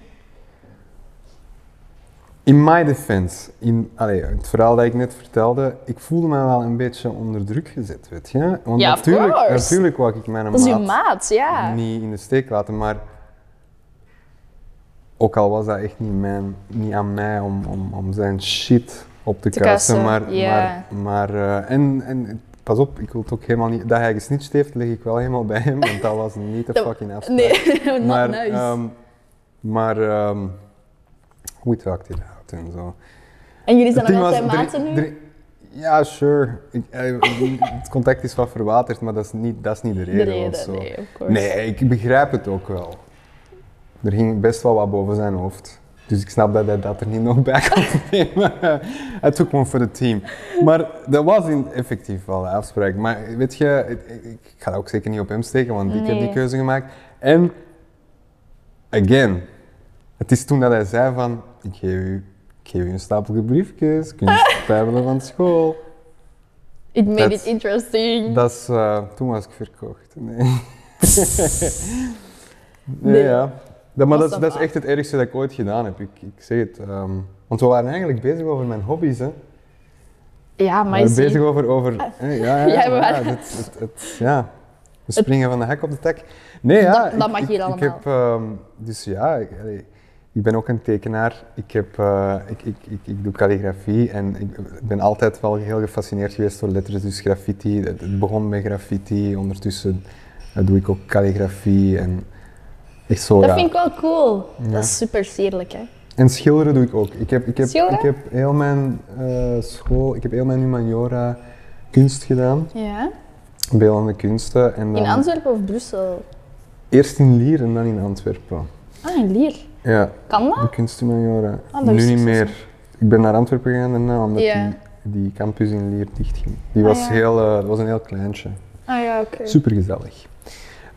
Speaker 1: In my defense, in allee, het verhaal dat ik net vertelde, ik voelde me wel een beetje onder druk gezet, weet je? Want
Speaker 2: Ja, of
Speaker 1: natuurlijk,
Speaker 2: course.
Speaker 1: natuurlijk wou ik mijn
Speaker 2: Dat is je
Speaker 1: maat
Speaker 2: maat, ja.
Speaker 1: niet in de steek laten, maar ook al was dat echt niet, mijn, niet aan mij om, om, om zijn shit op te,
Speaker 2: Te
Speaker 1: kassen,
Speaker 2: kassen,
Speaker 1: maar,
Speaker 2: ja.
Speaker 1: maar, maar eh, en, en pas op, ik wil het ook helemaal niet, dat hij gesnitcht heeft, leg ik wel helemaal bij hem, want dat was niet de
Speaker 2: Dat-
Speaker 1: fucking afspraak.
Speaker 2: Nee, *laughs* not
Speaker 1: maar,
Speaker 2: nice.
Speaker 1: ehm, maar ehm, hoe draagt hij dat out en zo?
Speaker 2: en jullie zijn
Speaker 1: Het
Speaker 2: nog
Speaker 1: ding
Speaker 2: altijd
Speaker 1: was, er-
Speaker 2: maten nu?
Speaker 1: er- ja, sure. Ik- eh, het *laughs* contact is wat verwaterd, maar dat is niet, dat is niet de
Speaker 2: De
Speaker 1: reden. of
Speaker 2: reden,
Speaker 1: zo.
Speaker 2: nee, of course.
Speaker 1: nee, ik begrijp het ook wel. Er ging best wel wat boven zijn hoofd. Dus ik snap dat hij dat er niet nog bij *laughs* kan nemen. Hij took one for the team. Maar dat was in effectief wel de afspraak. Maar weet je, ik, ik- ik ga dat ook zeker niet op hem steken, want ik heb
Speaker 2: Nee.
Speaker 1: die keuze gemaakt. En, again, het is toen dat hij zei van, ik geef u, ik geef u een stapeltje briefjes, kun
Speaker 2: *laughs*
Speaker 1: je spijbelen van school.
Speaker 2: It made
Speaker 1: dat-
Speaker 2: it interesting.
Speaker 1: Dat is, eh, toen was ik verkocht. Nee.
Speaker 2: Nee.
Speaker 1: nee, ja. Dat, maar
Speaker 2: Was
Speaker 1: dat, dat
Speaker 2: dat
Speaker 1: is
Speaker 2: waar?
Speaker 1: echt het ergste dat ik ooit gedaan heb. Ik, ik zeg het. ehm, want we waren eigenlijk bezig over mijn hobby's. Hè.
Speaker 2: ja,
Speaker 1: We
Speaker 2: maar je
Speaker 1: waren bezig
Speaker 2: ziet-
Speaker 1: over. over eh, ja, ja,
Speaker 2: *laughs* Ja,
Speaker 1: ja,
Speaker 2: we
Speaker 1: ja,
Speaker 2: waren-
Speaker 1: dit- het- het- ja. We springen van de hek op de tak. Nee, ja.
Speaker 2: Dat- dat mag hier
Speaker 1: ik,
Speaker 2: allemaal.
Speaker 1: Ik heb, ehm, dus ja, ik, allee, ik ben ook een tekenaar. Ik, heb, eh, ik, ik, ik, ik doe calligrafie en ik ben altijd wel heel gefascineerd geweest door letters. Dus graffiti, het, het begon met graffiti. Ondertussen eh, doe ik ook calligrafie en echt zo,
Speaker 2: dat
Speaker 1: ja.
Speaker 2: vind ik wel cool.
Speaker 1: Ja.
Speaker 2: Dat is super sierlijk, hè.
Speaker 1: En schilderen doe ik ook. Ik heb, ik heb,
Speaker 2: Schilderen?
Speaker 1: ik heb heel mijn eh, school, ik heb heel mijn humaniora kunst gedaan.
Speaker 2: Ja.
Speaker 1: Beeldende kunsten. En dan
Speaker 2: In Antwerpen of Brussel?
Speaker 1: Eerst in Lier en dan in Antwerpen.
Speaker 2: Ah, in Lier.
Speaker 1: Ja,
Speaker 2: Kan dat?
Speaker 1: de kunsthumaniora.
Speaker 2: Ah, dat
Speaker 1: nu
Speaker 2: wist ik
Speaker 1: niet
Speaker 2: zelfs
Speaker 1: meer. Ik ben naar Antwerpen gegaan daarna, omdat
Speaker 2: Ja.
Speaker 1: die, die campus in Lier dicht ging. Die
Speaker 2: Ah,
Speaker 1: was,
Speaker 2: ja.
Speaker 1: heel, eh, dat was een heel kleintje.
Speaker 2: Ah ja, oké.
Speaker 1: Supergezellig.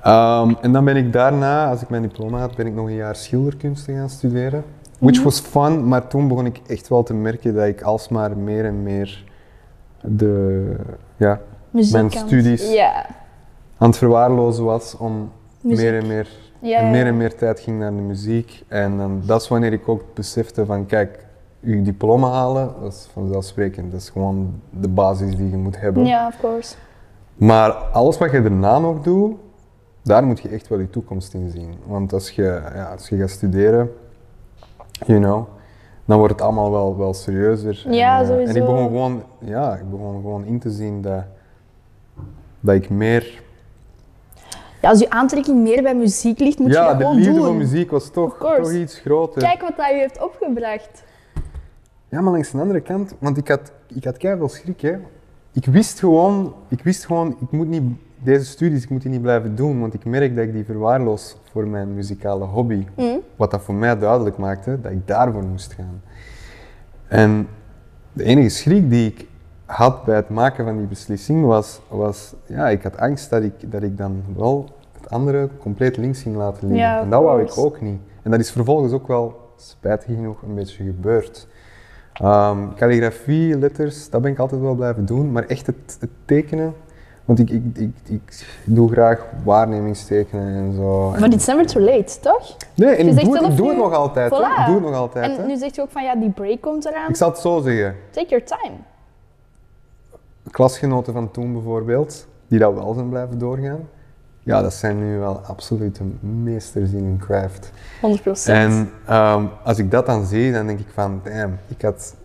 Speaker 1: Ehm, en dan ben ik daarna, als ik mijn diploma had, ben ik nog een jaar schilderkunsten gaan studeren. Which
Speaker 2: Mhm.
Speaker 1: was fun, maar toen begon ik echt wel te merken dat ik alsmaar meer en meer de, ja, mijn studies
Speaker 2: Ja.
Speaker 1: aan het verwaarlozen was om
Speaker 2: Muziek.
Speaker 1: meer en meer
Speaker 2: Ja,
Speaker 1: en meer
Speaker 2: ja.
Speaker 1: en meer tijd ging naar de muziek. En dan, dat is wanneer ik ook besefte van, kijk, je diploma halen, dat is vanzelfsprekend. Dat is gewoon de basis die je moet hebben.
Speaker 2: Ja, of course.
Speaker 1: Maar alles wat je daarna nog doet, daar moet je echt wel je toekomst in zien. Want als je, ja, als je gaat studeren, you know, dan wordt het allemaal wel, wel serieuzer.
Speaker 2: Ja,
Speaker 1: eh,
Speaker 2: sowieso.
Speaker 1: En ik begon gewoon, ja, ik begon gewoon in te zien dat, dat ik meer...
Speaker 2: Ja, als je aantrekking meer bij muziek ligt, moet je
Speaker 1: ja,
Speaker 2: dat
Speaker 1: de
Speaker 2: gewoon
Speaker 1: liefde
Speaker 2: doen.
Speaker 1: voor muziek eh. was
Speaker 2: Of
Speaker 1: toch,
Speaker 2: course.
Speaker 1: toch iets groter.
Speaker 2: Kijk wat dat je heeft opgebracht.
Speaker 1: Ja, maar langs de andere kant, want ik had, ik had keihard schrik, hè. Ik wist gewoon, ik wist gewoon, ik moet niet, deze studies, ik moet die niet blijven doen, want ik merk dat ik die verwaarloos voor mijn muzikale hobby.
Speaker 2: Hm?
Speaker 1: Wat dat voor mij duidelijk maakte, dat ik daarvoor moest gaan. En de enige schrik die ik had bij het maken van die beslissing was, was ja, ik had angst dat ik, dat ik dan wel het andere compleet links ging laten liggen.
Speaker 2: Ja, of
Speaker 1: en dat wou ik
Speaker 2: course.
Speaker 1: ook niet. En dat is vervolgens ook wel, spijtig genoeg, een beetje gebeurd. Ehm calligrafie, letters, dat ben ik altijd wel blijven doen, maar echt het, het tekenen, want ik, ik, ik, ik doe graag waarnemingstekenen en zo. En-
Speaker 2: Maar it's never too late, toch?
Speaker 1: nee, en
Speaker 2: je
Speaker 1: ik
Speaker 2: zegt
Speaker 1: doe, het,
Speaker 2: zelf
Speaker 1: ik doe het
Speaker 2: nu-
Speaker 1: nog altijd. hè.
Speaker 2: Voilà.
Speaker 1: Ik doe het nog altijd. hè.
Speaker 2: En nu zegt je ook van ja, die break komt eraan.
Speaker 1: Ik zal het zo zeggen.
Speaker 2: Take your time.
Speaker 1: klasgenoten van toen bijvoorbeeld, die dat wel zijn blijven doorgaan, ja, dat zijn nu wel absolute meesters in hun craft.
Speaker 2: 100 procent.
Speaker 1: En ehm, als ik dat dan zie, dan denk ik van, damn, ik had,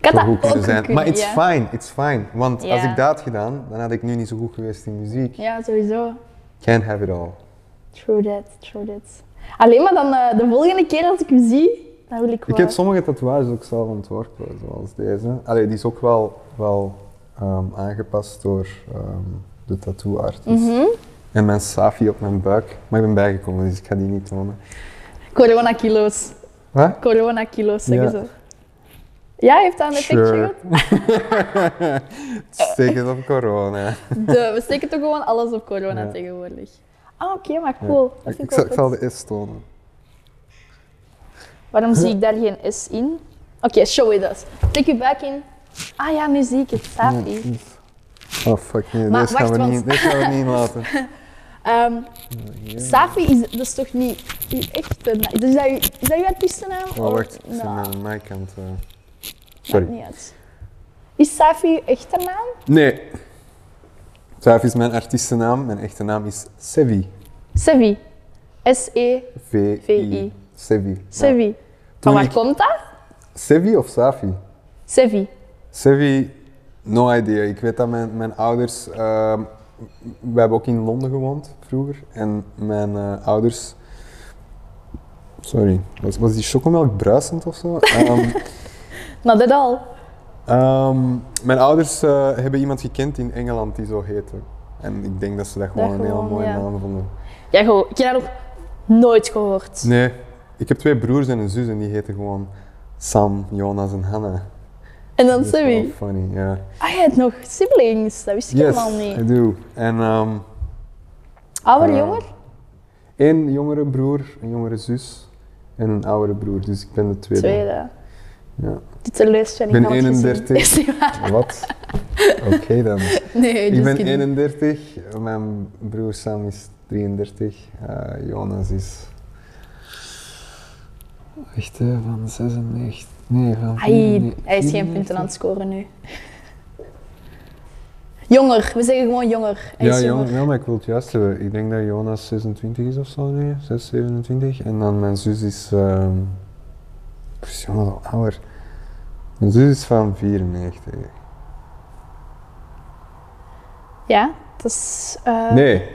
Speaker 2: Ik had
Speaker 1: zo
Speaker 2: dat
Speaker 1: goed
Speaker 2: ook
Speaker 1: kunnen zijn.
Speaker 2: kunnen,
Speaker 1: Maar it's
Speaker 2: ja.
Speaker 1: fine, it's fine. Want als
Speaker 2: Ja.
Speaker 1: ik dat had gedaan, dan had ik nu niet zo goed geweest in muziek.
Speaker 2: Ja, sowieso.
Speaker 1: Can't have it all.
Speaker 2: True that, true that.
Speaker 3: Alleen maar dan eh, de volgende keer als ik hem zie, dan wil ik
Speaker 1: Ik
Speaker 3: wel.
Speaker 1: heb sommige tatoeages ook zelf ontworpen, zoals deze. Allee, die is ook wel, wel ehm, aangepast door ehm, de tattoo-artist.
Speaker 3: Mhm.
Speaker 1: En mijn safi op mijn buik. Maar ik ben bijgekomen, dus ik ga die niet tonen.
Speaker 2: Corona-kilo's.
Speaker 1: Wat?
Speaker 2: Corona-kilo's, zeggen
Speaker 1: Ja.
Speaker 2: ze. Ja, heeft dat een effectje
Speaker 1: Sure.
Speaker 2: gehad?
Speaker 1: Steek *laughs* het op corona.
Speaker 2: De- we steken toch gewoon alles op corona
Speaker 1: Ja.
Speaker 2: tegenwoordig.
Speaker 3: Ah, oké, maar cool. Dat vind
Speaker 1: Ik,
Speaker 3: ik,
Speaker 1: ik
Speaker 3: wel
Speaker 1: zal, ik
Speaker 3: goed.
Speaker 1: zal de S tonen.
Speaker 2: Waarom zie ik daar geen S in?
Speaker 3: Oké, show it us. Tik je buik in. Ah ja, nu zie ik het. Safi.
Speaker 1: Oh fuck, nee,
Speaker 3: Maar
Speaker 1: deze gaan,
Speaker 3: wacht,
Speaker 1: we
Speaker 3: want-
Speaker 1: niet, deze gaan
Speaker 3: *laughs*
Speaker 1: we niet laten.
Speaker 3: Ehm, Safi is, dat is toch niet uw echte naam? Is dat uw, is dat uw artiestennaam?
Speaker 1: Oh,
Speaker 3: Of-
Speaker 1: wacht, ik zit
Speaker 3: Nou,
Speaker 1: aan mijn kant. eh. Sorry.
Speaker 3: niet uit. Is Safi uw echte naam?
Speaker 1: Nee. Safi is mijn artiestennaam. Mijn echte naam is Sevi.
Speaker 2: Sevi. S-E.
Speaker 1: V-I.
Speaker 2: V-I.
Speaker 1: Sevi. Ja.
Speaker 2: Sevi. Van
Speaker 1: Toen
Speaker 2: waar
Speaker 1: ik-
Speaker 2: komt dat?
Speaker 1: Sevi of Safi?
Speaker 2: Sevi.
Speaker 1: Sevi, no idea. Ik weet dat mijn, mijn ouders. ehm, we hebben ook in Londen gewoond vroeger. En mijn eh, ouders. Sorry, was, was die chocomelk bruisend of *laughs* zo? Ehm,
Speaker 2: Not at all.
Speaker 1: Ehm, mijn ouders eh, hebben iemand gekend in Engeland die zo heette. En ik denk dat ze dat gewoon een hele
Speaker 2: gewoon,
Speaker 1: mooie
Speaker 2: ja.
Speaker 1: naam vonden.
Speaker 2: Ja, gewoon, ik heb dat nog nooit gehoord.
Speaker 1: Nee, ik heb twee broers en een zus en die heten gewoon Sam, Jonas en Hannah.
Speaker 2: En dan
Speaker 1: Dat is wel
Speaker 2: Sevi.
Speaker 1: funny, ja.
Speaker 2: Ah, je hebt nog siblings. Dat wist ik
Speaker 1: Yes,
Speaker 2: helemaal niet.
Speaker 1: I do. En ehm
Speaker 2: Ouder,
Speaker 1: eh,
Speaker 2: jonger?
Speaker 1: één jongere broer, een jongere zus en een oudere broer. Dus ik ben de tweede.
Speaker 2: Tweede.
Speaker 1: Ja.
Speaker 2: Dit is de leerstelling.
Speaker 1: Ik ben
Speaker 2: had gezien.
Speaker 1: 31.
Speaker 2: Is *laughs* die waar?
Speaker 1: *laughs* Wat? Oké
Speaker 2: *laughs*
Speaker 1: dan.
Speaker 2: Nee,
Speaker 1: Ik
Speaker 2: just
Speaker 1: ben
Speaker 2: kidding.
Speaker 1: 31, mijn broer Sam is 33, eh, Jonas is. Echt hè, van 96. Nee, van.
Speaker 2: Ai,
Speaker 1: 94.
Speaker 2: hij is geen punten aan het scoren nu. Jonger, we zeggen gewoon jonger. Hij
Speaker 1: Ja,
Speaker 2: is
Speaker 1: jong,
Speaker 2: jonger.
Speaker 1: ja, maar ik wil het juist hebben. Ik denk dat Jonas 26 is of zo nu, 6, 27. En dan mijn zus is. ehm ik is Jonas al ouder. Mijn zus is van 94.
Speaker 2: Eh. Ja, dat is. eh,
Speaker 1: Nee,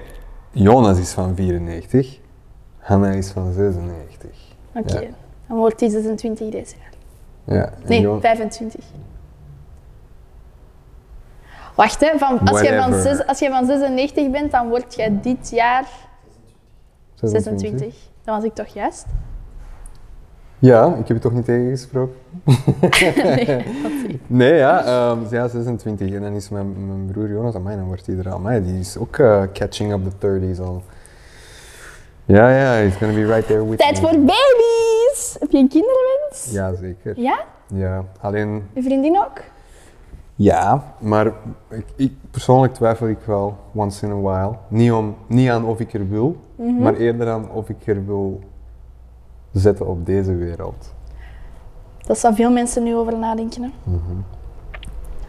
Speaker 1: Jonas is van 94, Hanna is van 96.
Speaker 2: Oké, dan wordt hij 26 deze jaar.
Speaker 1: Ja, en
Speaker 2: Nee,
Speaker 1: Jon-
Speaker 2: 25. Wacht, hè, van, als, jij van
Speaker 1: Whatever.
Speaker 2: zes, als jij van 96 bent, dan word jij dit jaar 26. Dan was ik toch juist?
Speaker 1: Ja, ik heb je toch niet tegengesproken? nee, ja, ehm, ja, 26. En dan is mijn, mijn broer Jonas aan mij, dan wordt hij er aan mij. Die is ook eh, catching up the 30s al. Ja, ja, he's gonna be right there with
Speaker 2: Tijd
Speaker 1: me.
Speaker 2: voor baby's! Heb je een kinderwens?
Speaker 1: Ja, zeker.
Speaker 2: Ja?
Speaker 1: Ja, alleen,
Speaker 2: Je vriendin ook?
Speaker 1: ja, maar ik, ik, persoonlijk twijfel ik wel once in a while. Niet, om, niet aan of ik er wil, maar eerder aan of ik er wil zetten op deze wereld.
Speaker 2: Dat staan veel mensen nu over nadenken. Hè?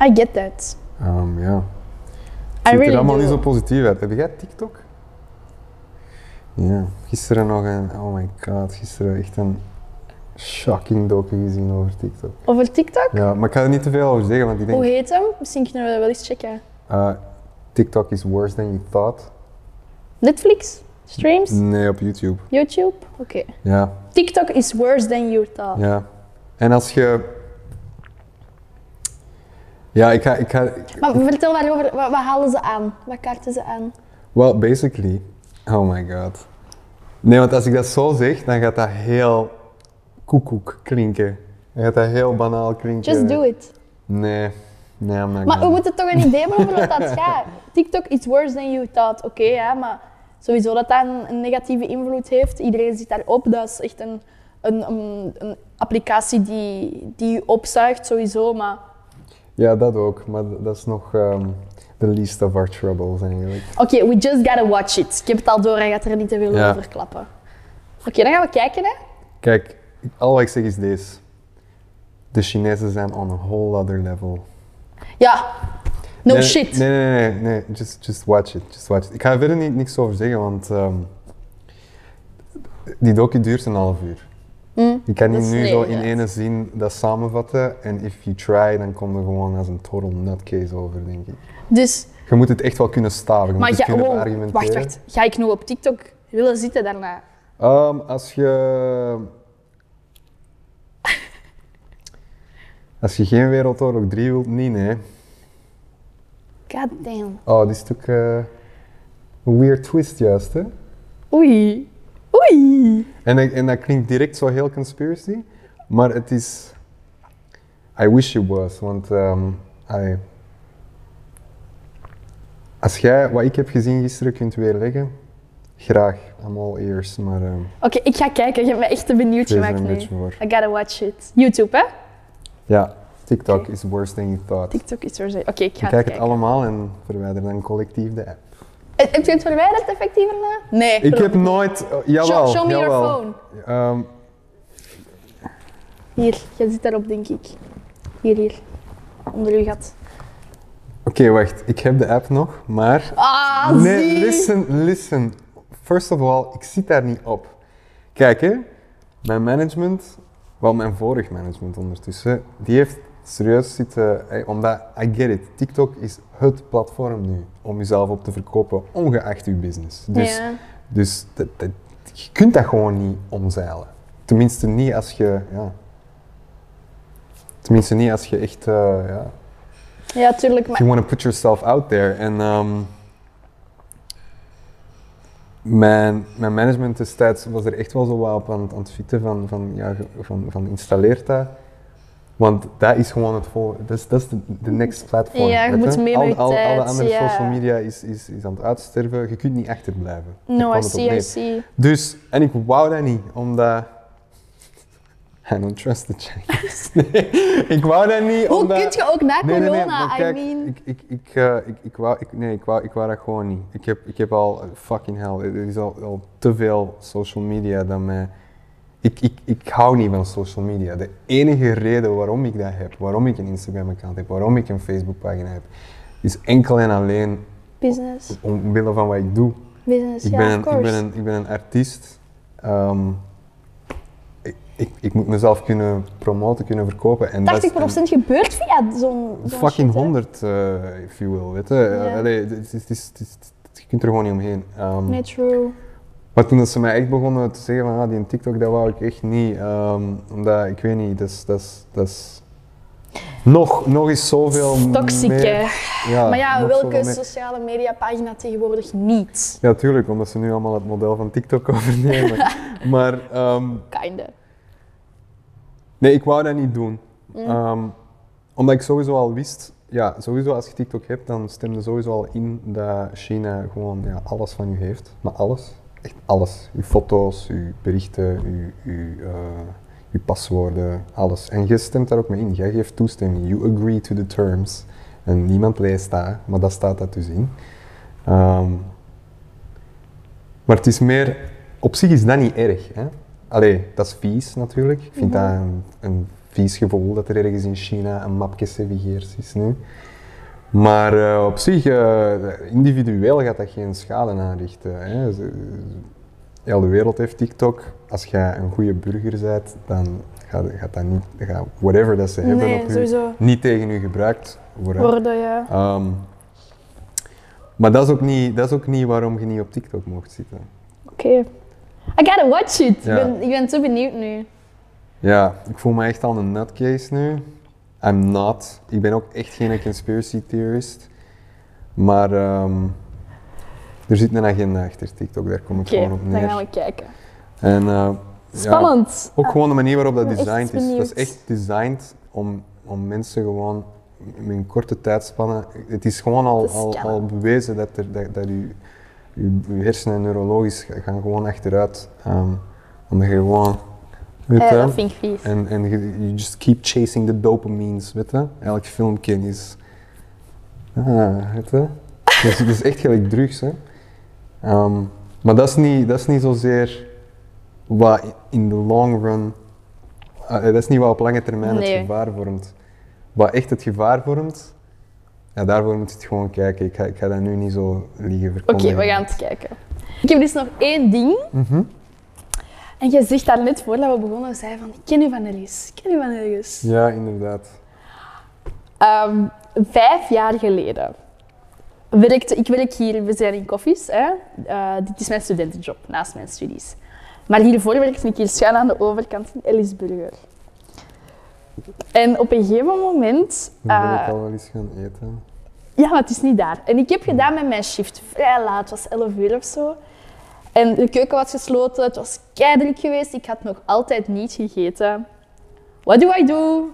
Speaker 2: I get that.
Speaker 1: Mhm. Ehm, ja.
Speaker 2: I
Speaker 1: Het ziet
Speaker 2: really
Speaker 1: er allemaal
Speaker 2: do.
Speaker 1: niet zo positief uit. Heb jij TikTok? Ja, gisteren nog een. Oh my god, gisteren echt een shocking docu gezien over TikTok.
Speaker 2: Over TikTok?
Speaker 1: Ja, maar ik ga er niet te veel over zeggen, want ik denk.
Speaker 2: Hoe heet hem? Misschien kunnen we dat wel eens checken.
Speaker 1: eh, TikTok is worse than you thought.
Speaker 2: Netflix? Streams?
Speaker 1: Nee, op YouTube.
Speaker 2: YouTube? Oké.
Speaker 1: Ja,
Speaker 2: TikTok is worse than you thought.
Speaker 1: ja. En als je. Ja, ik ga. Ik ga
Speaker 2: Maar vertel waarover, wa- wat, halen ze aan? Wat kaarten ze aan?
Speaker 1: Well, basically. Oh my god. Nee, want als ik dat zo zeg, dan gaat dat heel koekoek klinken. Dan gaat dat heel banaal klinken.
Speaker 2: Just do it.
Speaker 1: Nee. Nee, I'm not
Speaker 2: Maar we
Speaker 1: gonna.
Speaker 2: moeten toch een idee hebben over
Speaker 1: *laughs*
Speaker 2: wat dat gaat. TikTok is worse than you thought. Oké, ja, maar sowieso dat dat een, een negatieve invloed heeft. Iedereen zit daarop. Dat is echt een, een, een, een applicatie die, die je opzuigt, sowieso. Maar
Speaker 1: Ja, dat ook. Maar d- dat is nog ehm the least of our troubles eigenlijk.
Speaker 2: oké, we just gotta watch it. Ik heb het al door, hij gaat er niet te veel
Speaker 1: Ja.
Speaker 2: over klappen. Oké, dan gaan we kijken, hè.
Speaker 1: Kijk, ik- al wat ik zeg is deze. De Chinezen zijn on a whole other level.
Speaker 2: Ja. No
Speaker 1: nee,
Speaker 2: shit.
Speaker 1: Nee, nee, nee, nee. Just, just watch it. Just watch it. Ik ga er verder niet, niks over zeggen, want ehm, die docu duurt een half uur. Je kan
Speaker 2: dat
Speaker 1: niet
Speaker 2: is
Speaker 1: nu
Speaker 2: nee,
Speaker 1: zo in
Speaker 2: inderdaad.
Speaker 1: ene zin dat samenvatten. En if you try, dan kom je gewoon als een total nutcase over, denk ik.
Speaker 2: Dus,
Speaker 1: Je moet het echt wel kunnen staven. Je
Speaker 2: maar
Speaker 1: moet
Speaker 2: ga,
Speaker 1: het kunnen
Speaker 2: wow,
Speaker 1: argumenteren.
Speaker 2: wacht, wacht. Ga ik nu op TikTok willen zitten daarna?
Speaker 1: Ehm, als
Speaker 2: *laughs*
Speaker 1: je. Als je geen Wereldoorlog 3 wilt, niet, nee.
Speaker 2: God damn.
Speaker 1: Oh, dit is natuurlijk eh, een weird twist, juist, hè?
Speaker 2: Oei. Oei.
Speaker 1: En, dat- en dat klinkt direct zo heel conspiracy, maar het is. I wish it was, want. ehm, I- als jij wat ik heb gezien gisteren kunt weerleggen, graag. I'm all ears, maar ehm
Speaker 2: Oké, ik ga kijken. Je hebt me echt te benieuwd
Speaker 1: wees er
Speaker 2: gemaakt
Speaker 1: een
Speaker 2: nu.
Speaker 1: beetje voor.
Speaker 2: I gotta watch it. YouTube, hè?
Speaker 1: Ja, TikTok is worse than you thought.
Speaker 2: TikTok is er zo. Oké, ik ga
Speaker 1: Kijk
Speaker 2: het
Speaker 1: het
Speaker 2: kijken.
Speaker 1: allemaal en verwijder dan collectief de app.
Speaker 3: Eh, Heb heb je het verwijderd effectief erna?
Speaker 2: Nee.
Speaker 1: Ik
Speaker 2: geloof
Speaker 1: heb nooit. oh, jawel,
Speaker 2: Show, show me your
Speaker 1: jawel.
Speaker 2: phone.
Speaker 1: Ehm,
Speaker 3: Hier, jij zit daarop denk ik. Hier, hier. Onder uw gat.
Speaker 1: Oké, wacht. Ik heb de app nog, maar
Speaker 3: Ah,
Speaker 1: Nee, listen, listen. First of all, ik zit daar niet op. Kijk, hè. Mijn management, wel mijn vorig management ondertussen, die heeft serieus zitten... hè, omdat, I get it, TikTok is het platform nu om jezelf op te verkopen, ongeacht je business. Dus,
Speaker 3: Ja.
Speaker 1: dus dat- dat- je kunt dat gewoon niet omzeilen. Tenminste niet als je... Ja. Tenminste niet als je echt... eh, ja,
Speaker 3: Ja, tuurlijk. Maar
Speaker 1: you want to put yourself out there. En ehm, mijn, mijn management destijds was er echt wel zo wat op aan, het- aan het fietsen van, van, ja, ge- van, van installeert dat. Want dat is gewoon het volgende. Dat is- dat is de de next platform.
Speaker 3: Ja, je
Speaker 1: weet
Speaker 3: moet mee
Speaker 1: al,
Speaker 3: met je
Speaker 1: al, Alle
Speaker 3: tijd,
Speaker 1: andere
Speaker 3: ja.
Speaker 1: social media is, is, is aan het uitsterven. Je kunt niet achterblijven. Daar
Speaker 3: no,
Speaker 1: kwam
Speaker 3: I
Speaker 1: het op
Speaker 3: see, I
Speaker 1: neer.
Speaker 3: see.
Speaker 1: Dus, en ik wou dat niet, omdat... *laughs* I don't trust the Chinese. *laughs* Nee, ik wou dat niet,
Speaker 3: Hoe
Speaker 1: omdat...
Speaker 3: kun je ook na
Speaker 1: Nee, nee, nee,
Speaker 3: corona,
Speaker 1: maar kijk,
Speaker 3: I mean...
Speaker 1: ik, ik, ik, eh, ik, ik, wou, ik, nee, ik, wou, ik wou dat gewoon niet. Ik heb, ik heb al, eh, fucking hell, er is al, al te veel social media dat mij... Ik, ik, ik hou niet van social media. De enige reden waarom ik dat heb, waarom ik een Instagram-account heb, waarom ik een Facebook-pagina heb, is enkel en alleen
Speaker 3: Business.
Speaker 1: omwille van wat ik doe.
Speaker 3: Business,
Speaker 1: Ik,
Speaker 3: Dus ja,
Speaker 1: ben,
Speaker 3: of
Speaker 1: een, ik, ben,
Speaker 3: course.
Speaker 1: een, ik ben een artiest. Ehm, ik, ik, ik moet mezelf kunnen promoten, kunnen verkopen. En dat is- en-
Speaker 3: 80% gebeurt via zo'n zo'n
Speaker 1: fucking
Speaker 3: shit, hè.
Speaker 1: 100, eh, if you will, weet je. Eh,
Speaker 3: Ja.
Speaker 1: Allee, het is- het is- het is- het- je kunt er gewoon niet omheen. Ehm,
Speaker 3: Nee, true.
Speaker 1: Maar toen dat ze mij echt begonnen te zeggen van ah, die TikTok, dat wou ik echt niet. ehm, omdat, ik weet niet, dat is... Dat is, dat is nog, nog eens zoveel
Speaker 2: Toxic,
Speaker 1: meer-
Speaker 2: hè?
Speaker 1: Ja,
Speaker 3: Maar ja,
Speaker 1: nog
Speaker 3: welke
Speaker 1: zoveel meer-
Speaker 3: sociale mediapagina tegenwoordig niet?
Speaker 1: Ja, tuurlijk, omdat ze nu allemaal het model van TikTok *laughs* overnemen.
Speaker 3: *laughs*
Speaker 1: maar ehm,
Speaker 3: Kinder.
Speaker 1: Nee, ik wou dat niet doen. Ehm, omdat ik sowieso al wist, ja, sowieso als je TikTok hebt, dan stemde sowieso al in dat China gewoon ja, alles van u heeft. Maar alles, echt alles. Uw foto's, uw berichten, uw, uw, eh, uw paswoorden, alles. En je stemt daar ook mee in. Jij geeft toestemming. You agree to the terms. En niemand leest dat, maar dat staat dat dus in. Ehm, maar het is meer, op zich is dat niet erg. Hè? Allee, dat is vies natuurlijk. Ik vind dat een, een vies gevoel dat er ergens in China een mapje Sevigeers is nu. Maar eh, op zich, eh, individueel gaat dat geen schade aanrichten. Hè? Z- Heel de wereld heeft TikTok. Als jij een goede burger bent, dan gaat, gaat dat niet, gaat whatever dat ze hebben
Speaker 3: Nee,
Speaker 1: op u,
Speaker 3: sowieso.
Speaker 1: niet tegen u gebruikt worden.
Speaker 3: Worden, ja.
Speaker 1: Ehm, maar dat is, ook niet, dat is ook niet waarom je niet op TikTok mocht zitten.
Speaker 3: Oké. I gotta watch it.
Speaker 1: Ja.
Speaker 3: Ik, ben, ik ben zo benieuwd nu.
Speaker 1: Ja, ik voel me echt al een nutcase nu. I'm not. Ik ben ook echt geen conspiracy theorist. Maar ehm, er zit een agenda achter TikTok, daar kom ik
Speaker 3: Oké,
Speaker 1: gewoon op
Speaker 3: dan gaan
Speaker 1: neer.
Speaker 3: we kijken.
Speaker 1: En, eh, ja,
Speaker 3: Spannend. Eh,
Speaker 1: ook gewoon de manier waarop dat
Speaker 3: ben echt
Speaker 1: designed is. Dat is
Speaker 3: benieuwd.
Speaker 1: echt designed om, om mensen gewoon in een korte tijdspanne... Het is gewoon al,
Speaker 3: Te
Speaker 1: al,
Speaker 3: scannen.
Speaker 1: al bewezen dat, er, dat, dat je, je, je hersenen neurologisch ga- gaan gewoon achteruit. ehm omdat je gewoon... Weet
Speaker 3: Ja,
Speaker 1: je,
Speaker 3: Eh, dat vind ik vies.
Speaker 1: en, en je- you just keep chasing the dopamines, weet je? Elk filmpje is... Ah, weet je? Dus het is echt gelijk drugs, hè. Ehm, maar dat is, niet, dat is niet zozeer wat in de long run... eh, dat is niet wat op lange termijn het
Speaker 3: Nee.
Speaker 1: gevaar vormt. Wat echt het gevaar vormt, ja, daarvoor moet je het gewoon kijken. Ik ga, ik ga dat nu niet zo liegen
Speaker 3: Oké,
Speaker 1: verkondigen.
Speaker 3: we gaan het kijken. Ik heb dus nog één ding.
Speaker 1: Mhm.
Speaker 2: En jij zegt daar net voordat we begonnen, zei van, ik ken u van ergens, ik ken u van ergens.
Speaker 1: Ja, inderdaad.
Speaker 2: Ehm, vijf jaar geleden werkte ik werk hier, we zijn in koffies. Hè? Eh, dit is mijn studentenjob naast mijn studies. Maar hiervoor werkte ik hier schuin aan de overkant in Ellisburger. En op een gegeven moment.
Speaker 1: Dan ben
Speaker 2: eh,
Speaker 3: Ah.
Speaker 1: ik al wel eens gaan eten.
Speaker 2: ja, maar het is niet daar. En ik heb gedaan met mijn shift. Vrij laat, het was 11 uur of zo. En de keuken was gesloten, het was keidruk geweest. Ik had nog altijd niet gegeten. What do I do?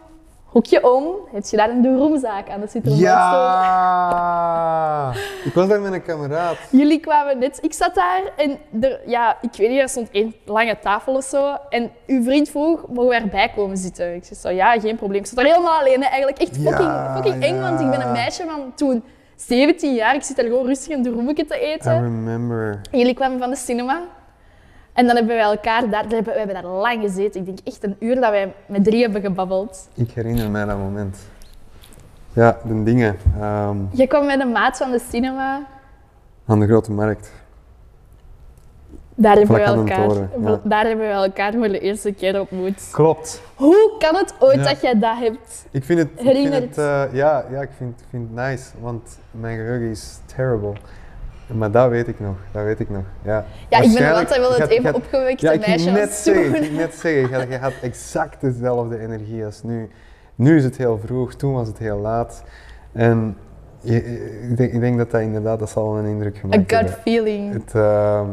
Speaker 2: Hoekje om, heb je daar een de roomzaak aan de Citroën
Speaker 1: Ja! Ik was daar met een kameraad.
Speaker 2: Jullie kwamen net, ik zat daar en er, ja, ik weet niet, er stond één lange tafel of zo. En uw vriend vroeg, mogen we erbij komen zitten? Ik zei zo, ja, geen probleem. Ik zat daar helemaal alleen, hè, eigenlijk echt fucking,
Speaker 1: Ja,
Speaker 2: fucking eng, want ik ben
Speaker 1: ja.
Speaker 2: een meisje van toen 17 jaar. Ik zit daar gewoon rustig een roemetje te
Speaker 1: I
Speaker 2: eten.
Speaker 1: remember.
Speaker 2: En Jullie kwamen van de cinema. En dan hebben wij elkaar daar, we hebben, we hebben daar lang gezeten. Ik denk echt een uur dat wij met drie hebben gebabbeld.
Speaker 1: Ik herinner mij dat moment. Ja, de dingen. ehm,
Speaker 2: Jij kwam met een maat van de cinema.
Speaker 1: aan de grote markt.
Speaker 2: Daar hebben, we
Speaker 1: Vlak aan een
Speaker 2: elkaar,
Speaker 1: toren, ja.
Speaker 2: daar hebben we elkaar voor de eerste keer ontmoet.
Speaker 1: Klopt.
Speaker 2: Hoe kan het ooit
Speaker 1: Ja.
Speaker 2: dat jij dat hebt?
Speaker 1: Ik vind het. ik vind
Speaker 2: Herinnerd.
Speaker 1: het, eh, ja, ja, ik vind, ik vind het nice, want mijn geheugen is terrible. Maar dat weet ik nog, dat weet ik nog. Ja,
Speaker 2: Ja, ik ben
Speaker 1: Waarschijnlijk-
Speaker 2: altijd wel
Speaker 1: ik
Speaker 2: het
Speaker 1: had- ik
Speaker 2: even
Speaker 1: had-
Speaker 2: opgewekte
Speaker 1: Ja, ik
Speaker 2: meisje
Speaker 1: ging net
Speaker 2: als toen.
Speaker 1: zeggen, ik ging net zeggen, je had, je had exact dezelfde energie als nu. Nu is het heel vroeg, toen was het heel laat. En je- ik, denk, ik denk dat dat inderdaad, dat zal wel een indruk
Speaker 2: *laughs* A
Speaker 1: gemaakt
Speaker 2: gut
Speaker 1: hebben.
Speaker 2: feeling.
Speaker 1: Het, ehm,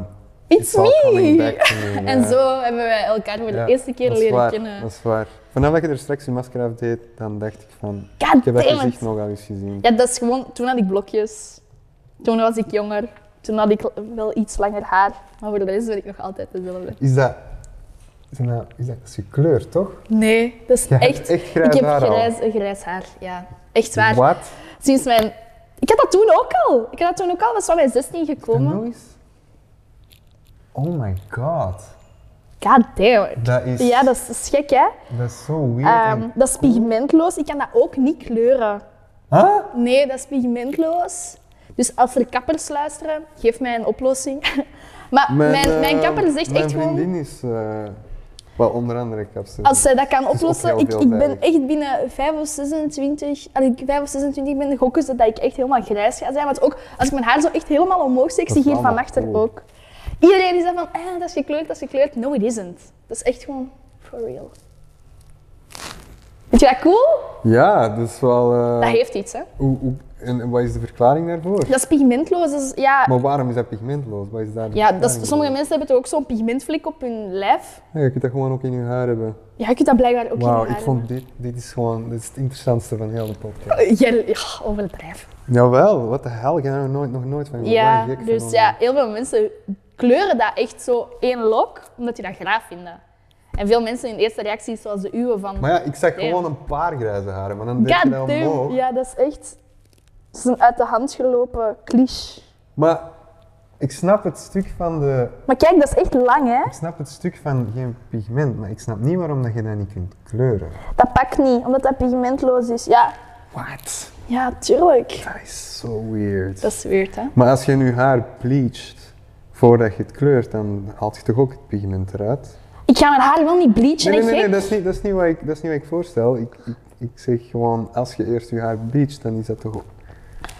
Speaker 2: It's
Speaker 1: all coming
Speaker 2: me!
Speaker 1: back to me,
Speaker 2: *laughs* En
Speaker 1: ja.
Speaker 2: zo hebben wij elkaar voor de
Speaker 1: Ja,
Speaker 2: eerste keer
Speaker 1: dat is
Speaker 2: leren
Speaker 1: waar,
Speaker 2: kennen.
Speaker 1: Dat is waar. Vanaf dat je er straks je masker af deed, dan dacht ik van, ik
Speaker 2: God
Speaker 1: heb dat
Speaker 2: damn it.
Speaker 1: gezicht nogal eens gezien.
Speaker 2: Ja, dat is gewoon... Toen had ik blokjes. Toen was ik jonger. Toen had ik wel iets langer haar. Maar voor de rest ben ik nog altijd dezelfde.
Speaker 1: Is dat, zijn dat, is dat, dat is gekleurd, toch?
Speaker 2: Nee, dat is
Speaker 1: Je hebt
Speaker 2: echt...
Speaker 1: echt grijs
Speaker 2: ik heb
Speaker 1: haar al.
Speaker 2: grijs, grijs haar, ja. Echt waar.
Speaker 1: Wat?
Speaker 2: Sinds mijn... Ik had dat toen ook al. Ik had dat toen ook al. Dat is van mijn 16 gekomen.
Speaker 1: Nog eens? Oh my god.
Speaker 2: God damn it.
Speaker 1: Dat is,
Speaker 2: Ja, dat is, dat is gek, hè?
Speaker 1: dat is zo weird.
Speaker 2: Ehm,
Speaker 1: en-
Speaker 2: dat is pigmentloos. Ik kan dat ook niet kleuren.
Speaker 1: Huh?
Speaker 2: Nee, dat is pigmentloos. Dus als er kappers luisteren, geef mij een oplossing. *laughs* maar mijn, mijn,
Speaker 1: eh,
Speaker 2: kapper zegt echt
Speaker 1: Mijn
Speaker 2: gewoon...
Speaker 1: vriendin is eh, wel onder andere kapster.
Speaker 2: Als zij dat kan
Speaker 1: is ook
Speaker 2: oplossen,
Speaker 1: heel
Speaker 2: ik, ik ben
Speaker 1: veelzijdig.
Speaker 2: echt binnen 5 of 26, als ik 5 of 26 ben, gok ik dat ik echt helemaal grijs ga zijn. Want ook als ik mijn haar zo echt helemaal omhoog steek,
Speaker 1: Dat
Speaker 2: zie
Speaker 1: is
Speaker 2: ik hier
Speaker 1: wel nog
Speaker 2: van achter
Speaker 1: cool.
Speaker 2: ook. Iedereen is dan van, ah, dat is gekleurd, dat is gekleurd. No, it isn't. Dat is echt gewoon for real. Vind je dat cool?
Speaker 1: Ja, dat is wel... eh,
Speaker 2: Dat heeft iets, hè?
Speaker 1: hoe, hoe- en, en wat is de verklaring daarvoor?
Speaker 2: Dat is pigmentloos. Dat is, ja,
Speaker 1: Maar waarom is dat pigmentloos? Wat is daar de
Speaker 2: ja dat
Speaker 1: verklaring
Speaker 2: is, sommige
Speaker 1: voor?
Speaker 2: mensen hebben toch ook zo'n pigmentvlek op hun lijf.
Speaker 1: Ja, je kunt dat gewoon ook in je haar hebben.
Speaker 2: Ja, je kunt dat blijkbaar ook
Speaker 1: Wauw,
Speaker 2: in je
Speaker 1: ik
Speaker 2: haar
Speaker 1: vond dit, dit is gewoon dit is het interessantste van heel de podcast.
Speaker 2: hebben. Eh, Jij- ja, overdrijf.
Speaker 1: Jawel, wat de hel, ik heb daar nog nooit, nog nooit van gehoord.
Speaker 2: Ja,
Speaker 1: Ben je gek
Speaker 2: dus
Speaker 1: van?
Speaker 2: ja, heel veel mensen kleuren dat echt zo één lok, omdat die dat graag vinden. En veel mensen in eerste reactie is zoals de uwe van...
Speaker 1: Maar ja, ik zag
Speaker 2: Damn.
Speaker 1: gewoon een paar grijze haren, maar dan denk je dat
Speaker 2: God damn.
Speaker 1: omhoog.
Speaker 2: Ja, dat is echt... Dat is een uit de hand gelopen cliché.
Speaker 1: Maar ik snap het stuk van de...
Speaker 2: Maar kijk, dat is echt lang, hè?
Speaker 1: Ik snap het stuk van geen pigment, maar ik snap niet waarom dat je dat niet kunt kleuren.
Speaker 2: Dat pakt niet, omdat dat pigmentloos is. Ja,
Speaker 1: Wat?
Speaker 2: ja tuurlijk.
Speaker 1: Dat is zo weird.
Speaker 2: Dat is weird, hè?
Speaker 1: Maar als je nu haar bleacht voordat je het kleurt, dan haalt je toch ook het pigment eruit?
Speaker 2: Ik ga mijn haar wel niet bleachen,
Speaker 1: Nee, nee,
Speaker 2: hè,
Speaker 1: nee,
Speaker 2: gek?
Speaker 1: nee, dat, is niet, dat, is niet wat ik, dat is niet wat ik voorstel. Ik, ik, ik zeg gewoon, als je eerst je haar bleacht, dan is dat toch ook...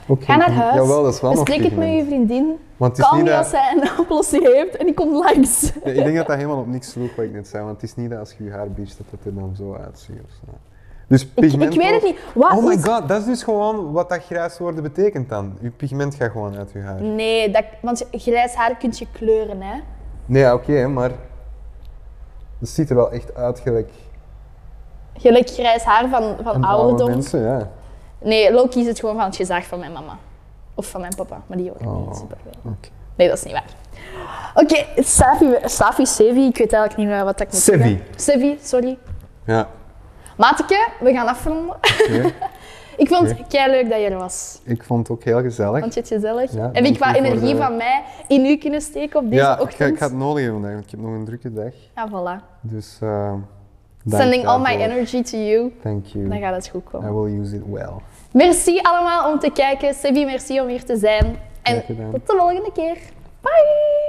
Speaker 1: ook
Speaker 2: Ga
Speaker 1: geen
Speaker 2: naar
Speaker 1: pigment.
Speaker 2: huis.
Speaker 1: Jawel, dat is wel nog
Speaker 2: Bespreek Dus het met
Speaker 1: pigment.
Speaker 2: je vriendin.
Speaker 1: Want het is
Speaker 2: Kan
Speaker 1: niet
Speaker 2: niet
Speaker 1: dat-
Speaker 2: als zij een *laughs* oplossing heeft en die komt langs.
Speaker 1: Ja, ik denk dat dat helemaal op niks sloeg wat ik net zei, want het is niet dat als je je haar bleacht dat het er dan zo uitziet of zo. Dus
Speaker 2: Ik,
Speaker 1: pigment...
Speaker 2: ik weet het niet. Wat
Speaker 1: Oh my
Speaker 2: is-
Speaker 1: god, dat is dus gewoon wat dat grijs worden betekent dan. Je pigment gaat gewoon uit je haar.
Speaker 2: Nee, dat, want grijs haar kun je kleuren, hè?
Speaker 1: Nee, ja, oké, maar... Het ziet er wel echt uit gelijk
Speaker 2: Gelijk grijs haar van, van
Speaker 1: aan oude
Speaker 2: ouderdom.
Speaker 1: mensen, ja.
Speaker 2: Nee, Loki is het gewoon van het gezag van mijn mama. Of van mijn papa, maar die hoort
Speaker 1: Oh,
Speaker 2: niet superveel.
Speaker 1: oké.
Speaker 2: Nee, dat is niet waar. Oké, Safi, Safi, Sevi, ik weet eigenlijk niet meer wat ik moet
Speaker 1: Sevi.
Speaker 2: zeggen. Sevi, sorry.
Speaker 1: Ja,
Speaker 2: Mateke, we gaan afronden. *laughs*
Speaker 1: oké. *laughs*
Speaker 2: ik vond
Speaker 1: Oké.
Speaker 2: het kei leuk dat je er was.
Speaker 1: ik vond het ook heel gezellig.
Speaker 2: Vond je het gezellig?
Speaker 1: Ja,
Speaker 2: Heb
Speaker 1: dank
Speaker 2: ik qua
Speaker 1: u voor
Speaker 2: energie
Speaker 1: de-
Speaker 2: van mij in u kunnen steken op deze
Speaker 1: Ja, ik ga,
Speaker 2: ochtend?
Speaker 1: ik ga het nodig hebben vandaag, want ik heb nog een drukke dag.
Speaker 2: Ja, voilà.
Speaker 1: Dus eh, dank
Speaker 2: Sending all my
Speaker 1: daarvoor.
Speaker 2: energy to you.
Speaker 1: Thank
Speaker 2: Dan
Speaker 1: you.
Speaker 2: gaat het goed komen.
Speaker 1: I will use it well.
Speaker 2: Merci allemaal om te kijken. Sevi, merci om hier te zijn. En
Speaker 1: Graag gedaan.
Speaker 2: tot de volgende keer. Bye!